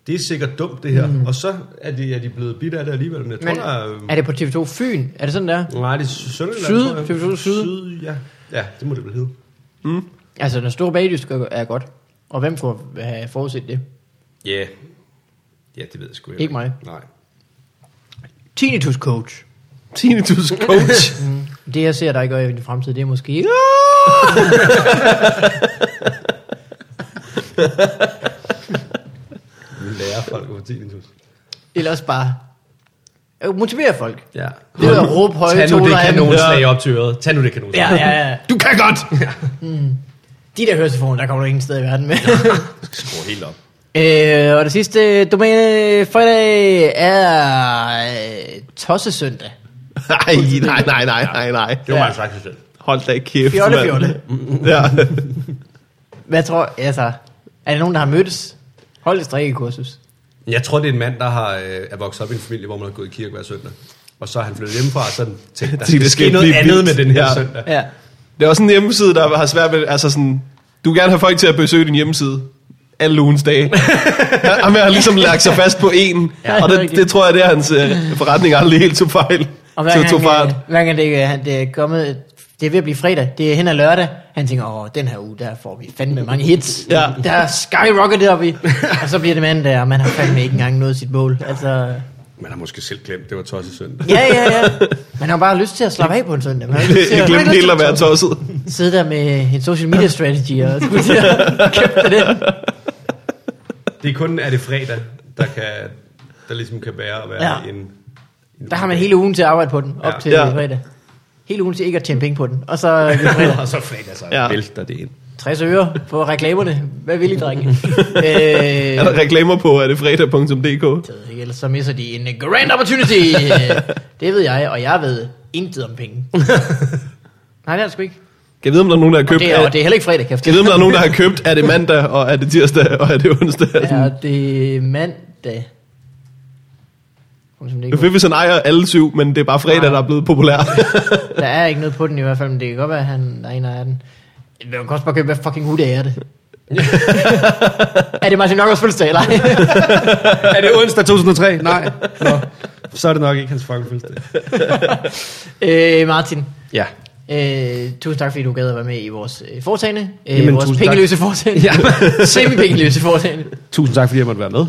S2: det er sikkert dumt det her, mm. og så er de, er de blevet bidt af det alligevel, men jeg tror,
S1: Men
S2: men, der er,
S1: er det på TV2 Fyn? Er det sådan der?
S2: Nej, det er Sønderjylland,
S1: Syd?
S2: tror jeg.
S1: Det er jo syd.
S2: Syd, ja. Ja, det må det vel hedde.
S1: Altså, den store bagdyst er godt. Og hvem kunne have forudset det?
S2: Ja. Yeah. Ja, det ved jeg sgu
S1: Ikke mig.
S2: Nej.
S1: Tinnitus coach.
S3: Tinnitus
S2: <laughs>
S3: coach.
S1: Det, jeg ser dig gøre i din fremtid, det er måske... Ja!
S2: Vi lærer folk over tinnitus.
S1: Eller også bare... øh, Motivere folk.
S2: Ja.
S1: Det er at råbe høje
S2: Tag nu det
S1: toner af dem.
S2: kanonslag op til øret. Tag nu det kanonslag.
S1: Ja, ja, ja.
S3: Du kan godt!
S1: De der høretelefoner, der kommer du ingen sted i verden med.
S2: Skru helt op.
S1: øh, og det sidste domæne fredag er øh, Tossesøndag.
S3: Nej, nej, nej, nej, nej, nej.
S2: Det var ja. man faktisk selv.
S3: Hold da kæft,
S1: Fjolle,
S3: mand.
S1: fjolle.
S3: Ja.
S1: Hvad tror altså, er der nogen, der har mødtes? Hold et strikkekursus.
S2: Jeg tror, det er en mand, der har, øh, er vokset op i en familie, hvor man har gået i kirke hver søndag. Og så er han flyttet hjemmefra, og så har han <laughs> tænkt, der
S3: Det skal
S2: skal ske
S3: ikke
S2: noget
S3: blive
S2: andet
S3: vildt.
S2: med den her
S3: Ja.
S2: ja. søndag.
S1: Ja.
S3: Det er også en hjemmeside, der har svært ved... Altså sådan, du vil gerne have folk til at besøge din hjemmeside. Alle ugens
S1: <laughs>
S3: dage. Han har ligesom lagt sig fast på en.
S1: Ja.
S3: og det, det, tror jeg, det er hans øh, forretning aldrig helt tog fejl.
S1: Og
S3: Til- tog
S1: hver gang,
S3: fart.
S1: øh, hver gang det, er- det er kommet, det er ved at blive fredag, det er hen ad lørdag, han tænker, åh, den her uge, der får vi fandme mange hits.
S3: Ja.
S1: Der er skyrocketet op i. og så bliver det mandag, og man har fandme ikke engang nået sit mål. Altså,
S2: Man har måske selv glemt, det var tosset søndag.
S1: ja, ja, ja. Man har bare lyst til at slappe af på en søndag. Man har lyst til
S3: Jeg
S1: at
S3: glemte helt at være tosset.
S1: sidde der med en social media strategy og skulle til at kæmpe med den.
S2: <laughs> Det er kun, er det fredag, der, kan, der ligesom kan bære at være
S1: Ja.
S2: ja. en... en
S1: Der har man
S2: <laughs>
S1: hele ugen til at arbejde på den, op
S2: Ja.
S1: til
S3: Ja.
S1: fredag. Hele ugen til ikke at tjene penge på den. Og så er det fredag.
S3: <laughs>
S2: Og så fredag, så
S3: Ja.
S2: ja. vælter det ind.
S1: 60 øre på reklamerne. Hvad vil I,
S3: <laughs>
S1: drenge? øh,
S3: Er der reklamer på, er det fredag.dk?
S1: Det ved jeg ikke, Ellers så misser de en grand
S3: <laughs>
S1: opportunity. det ved jeg, og jeg ved intet om
S3: <laughs>
S1: penge. Nej, det er det sgu ikke.
S3: Kan jeg vide, om der er nogen, der har
S1: Og
S3: købt...
S1: det, er, og det er heller ikke fredag, kæft.
S3: Kan jeg vide, om der er nogen, der har købt, er det mandag, og er det tirsdag, og er det onsdag? Ja.
S1: Er det mandag? Kom, som det
S3: Nu
S1: ikke
S3: fik vi sådan ejer alle syv, men det er bare fredag, der er blevet populær.
S1: går. Der er ikke noget på den i hvert fald, men det kan godt være, at han der er en af den. Man kan også bare købe, hvad fucking hud er
S2: <laughs>
S1: det? er det Martin Nørgaards fødselsdag, eller <laughs> ej?
S2: er det onsdag 2003? Nej. Nå. Så er det nok ikke hans fucking fødselsdag.
S1: øh, Martin,
S2: Ja.
S1: Øh, tusind tak, fordi du gad at være med i vores øh, foretagende. Øh,
S2: Jamen,
S1: vores
S2: tusind tak.
S1: pengeløse foretagende. Ja. <laughs> Semi-pengeløse foretagende.
S2: Tusind tak, fordi jeg måtte være med.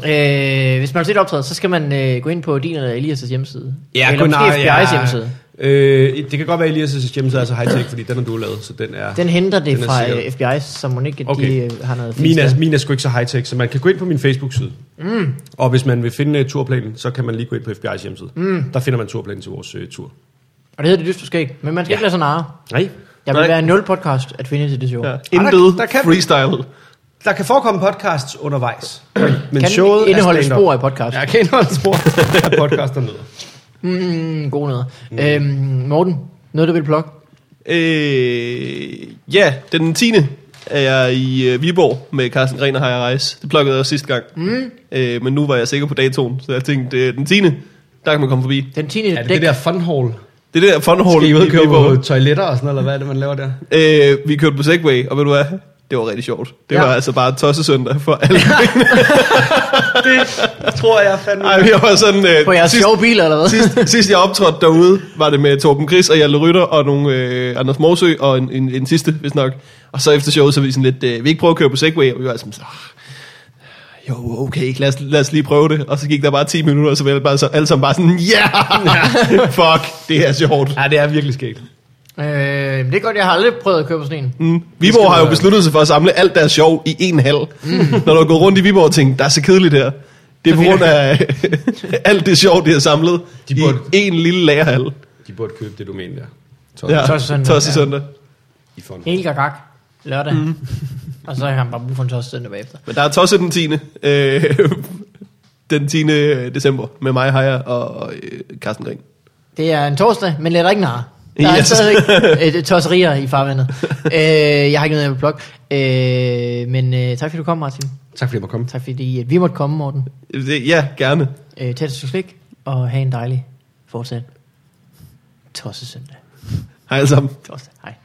S1: Øh, hvis man vil se et optræde, så skal man øh, gå ind på din eller Elias' hjemmeside. eller
S2: kun-
S1: måske
S2: nej,
S1: FBI's hjemmeside.
S2: Øh, det kan godt være, at Elias' hjemmeside er så high-tech, fordi den har du lavet, så den er...
S1: Den henter det
S2: Den er
S1: fra
S2: sikker.
S1: øh, FBI's, så må ikke, at okay. de
S2: Okay.
S1: øh, har noget
S2: Min
S1: fint
S2: er,
S1: sted.
S2: min er sgu ikke så high-tech, så man kan gå ind på min Facebook-side. Mm. Og hvis man vil finde uh, turplanen, så kan man lige gå ind på FBI's hjemmeside. Mm. Der finder man turplanen til vores uh, tur.
S1: Og det hedder det dyst måske ikke, men man skal ja.
S2: Ja.
S1: ikke lade sig narre.
S2: Nej.
S1: Jeg vil
S3: Nej.
S1: være nul podcast at finde til det show.
S3: Ja.
S1: Ja.
S3: Intet
S2: der kan-
S3: freestyle.
S2: Der kan forekomme podcasts undervejs. <clears throat> Men
S1: Kan
S2: showet
S1: den indeholde
S2: er stand-up.
S1: spor i podcast?
S2: Ja, kan indeholde <laughs> spor af podcaster med.
S1: Mm, god noget. Mm. Øhm, Morten, noget du vil plukke?
S3: Øh, ja, den 10. er jeg i øh, Viborg med Carsten Gren og Heja Reis. Det plukkede jeg også sidste gang. Mm. Øh, men nu var jeg sikker på datoen, så jeg tænkte, øh, den 10. der kan man komme forbi.
S1: Den 10.
S2: Er det
S1: dæk,
S2: det der fun hall?
S3: Det der fun hall
S2: Skal I
S3: i
S2: udkøre
S3: Viborg.
S2: på toiletter og sådan noget, eller hvad er det, man laver der?
S3: Øh, vi kørte på Segway, og ved du hvad? Det var rigtig sjovt. Det
S1: Ja.
S3: ja. var altså bare tossesøndag for alle.
S2: Tror jeg fandme.
S3: Ej, vi var sådan... Øh,
S1: på jeres
S3: sidst-
S1: sjove biler, eller hvad? <laughs>
S3: sidst, sidst jeg optrådte derude, var det med Torben Gris og Jalle Rytter og nogle, øh, Anders Morsø og en, en, en sidste, hvis nok. Og så efter showet, så var vi sådan lidt, øh, vi ikke prøve at køre på Segway, og vi var sådan, "Ah, jo, okay, lad os, lad os lige prøve det. Og så gik der bare 10 minutter, og så var alle, bare, så, alle sammen bare sådan, yeah! ja, fuck, det er sjovt.
S2: Ja, det er virkelig skægt.
S1: Øh, det er godt, jeg har aldrig prøvet at køre på sådan en.
S3: Mm. Viborg har jo besluttet sig for at samle alt deres sjov i en halv. Mm. Når du har gået rundt i Viborg og tænkt, der er så kedeligt her. Det er på grund af <laughs> alt det sjov, de har samlet
S2: De
S3: de i
S2: burde-
S3: en lille lagerhal.
S2: De burde købe det domæne der. Tosset.
S3: Ja.
S1: Tosset søndag,
S3: Tosset
S1: ja.
S3: søndag.
S2: I får en-
S1: Helt gagak. Lørdag. Mm. <laughs> Og så har han bare brug for en tosset søndag bagefter.
S3: Men der er tosset den 10. Øh, <laughs> den 10. december med mig, Heja og øh, Carsten Gren.
S1: Det er en torsdag, men letter ikke nar. Der er
S3: Yes.
S1: yes.
S2: <laughs>
S1: stadigvæk øh, tosserier i farvandet. øh, jeg har ikke noget, jeg vil plukke. Øh, men øh, tak fordi du kom, Martin.
S2: Tak fordi jeg måtte komme.
S1: Tak fordi at vi måtte komme, Morten.
S3: Det- Ja, gerne.
S1: Øh, tag et stykke slik, og have en dejlig fortsat tosse søndag.
S3: Hej alle sammen.
S1: Torsdag. Hej.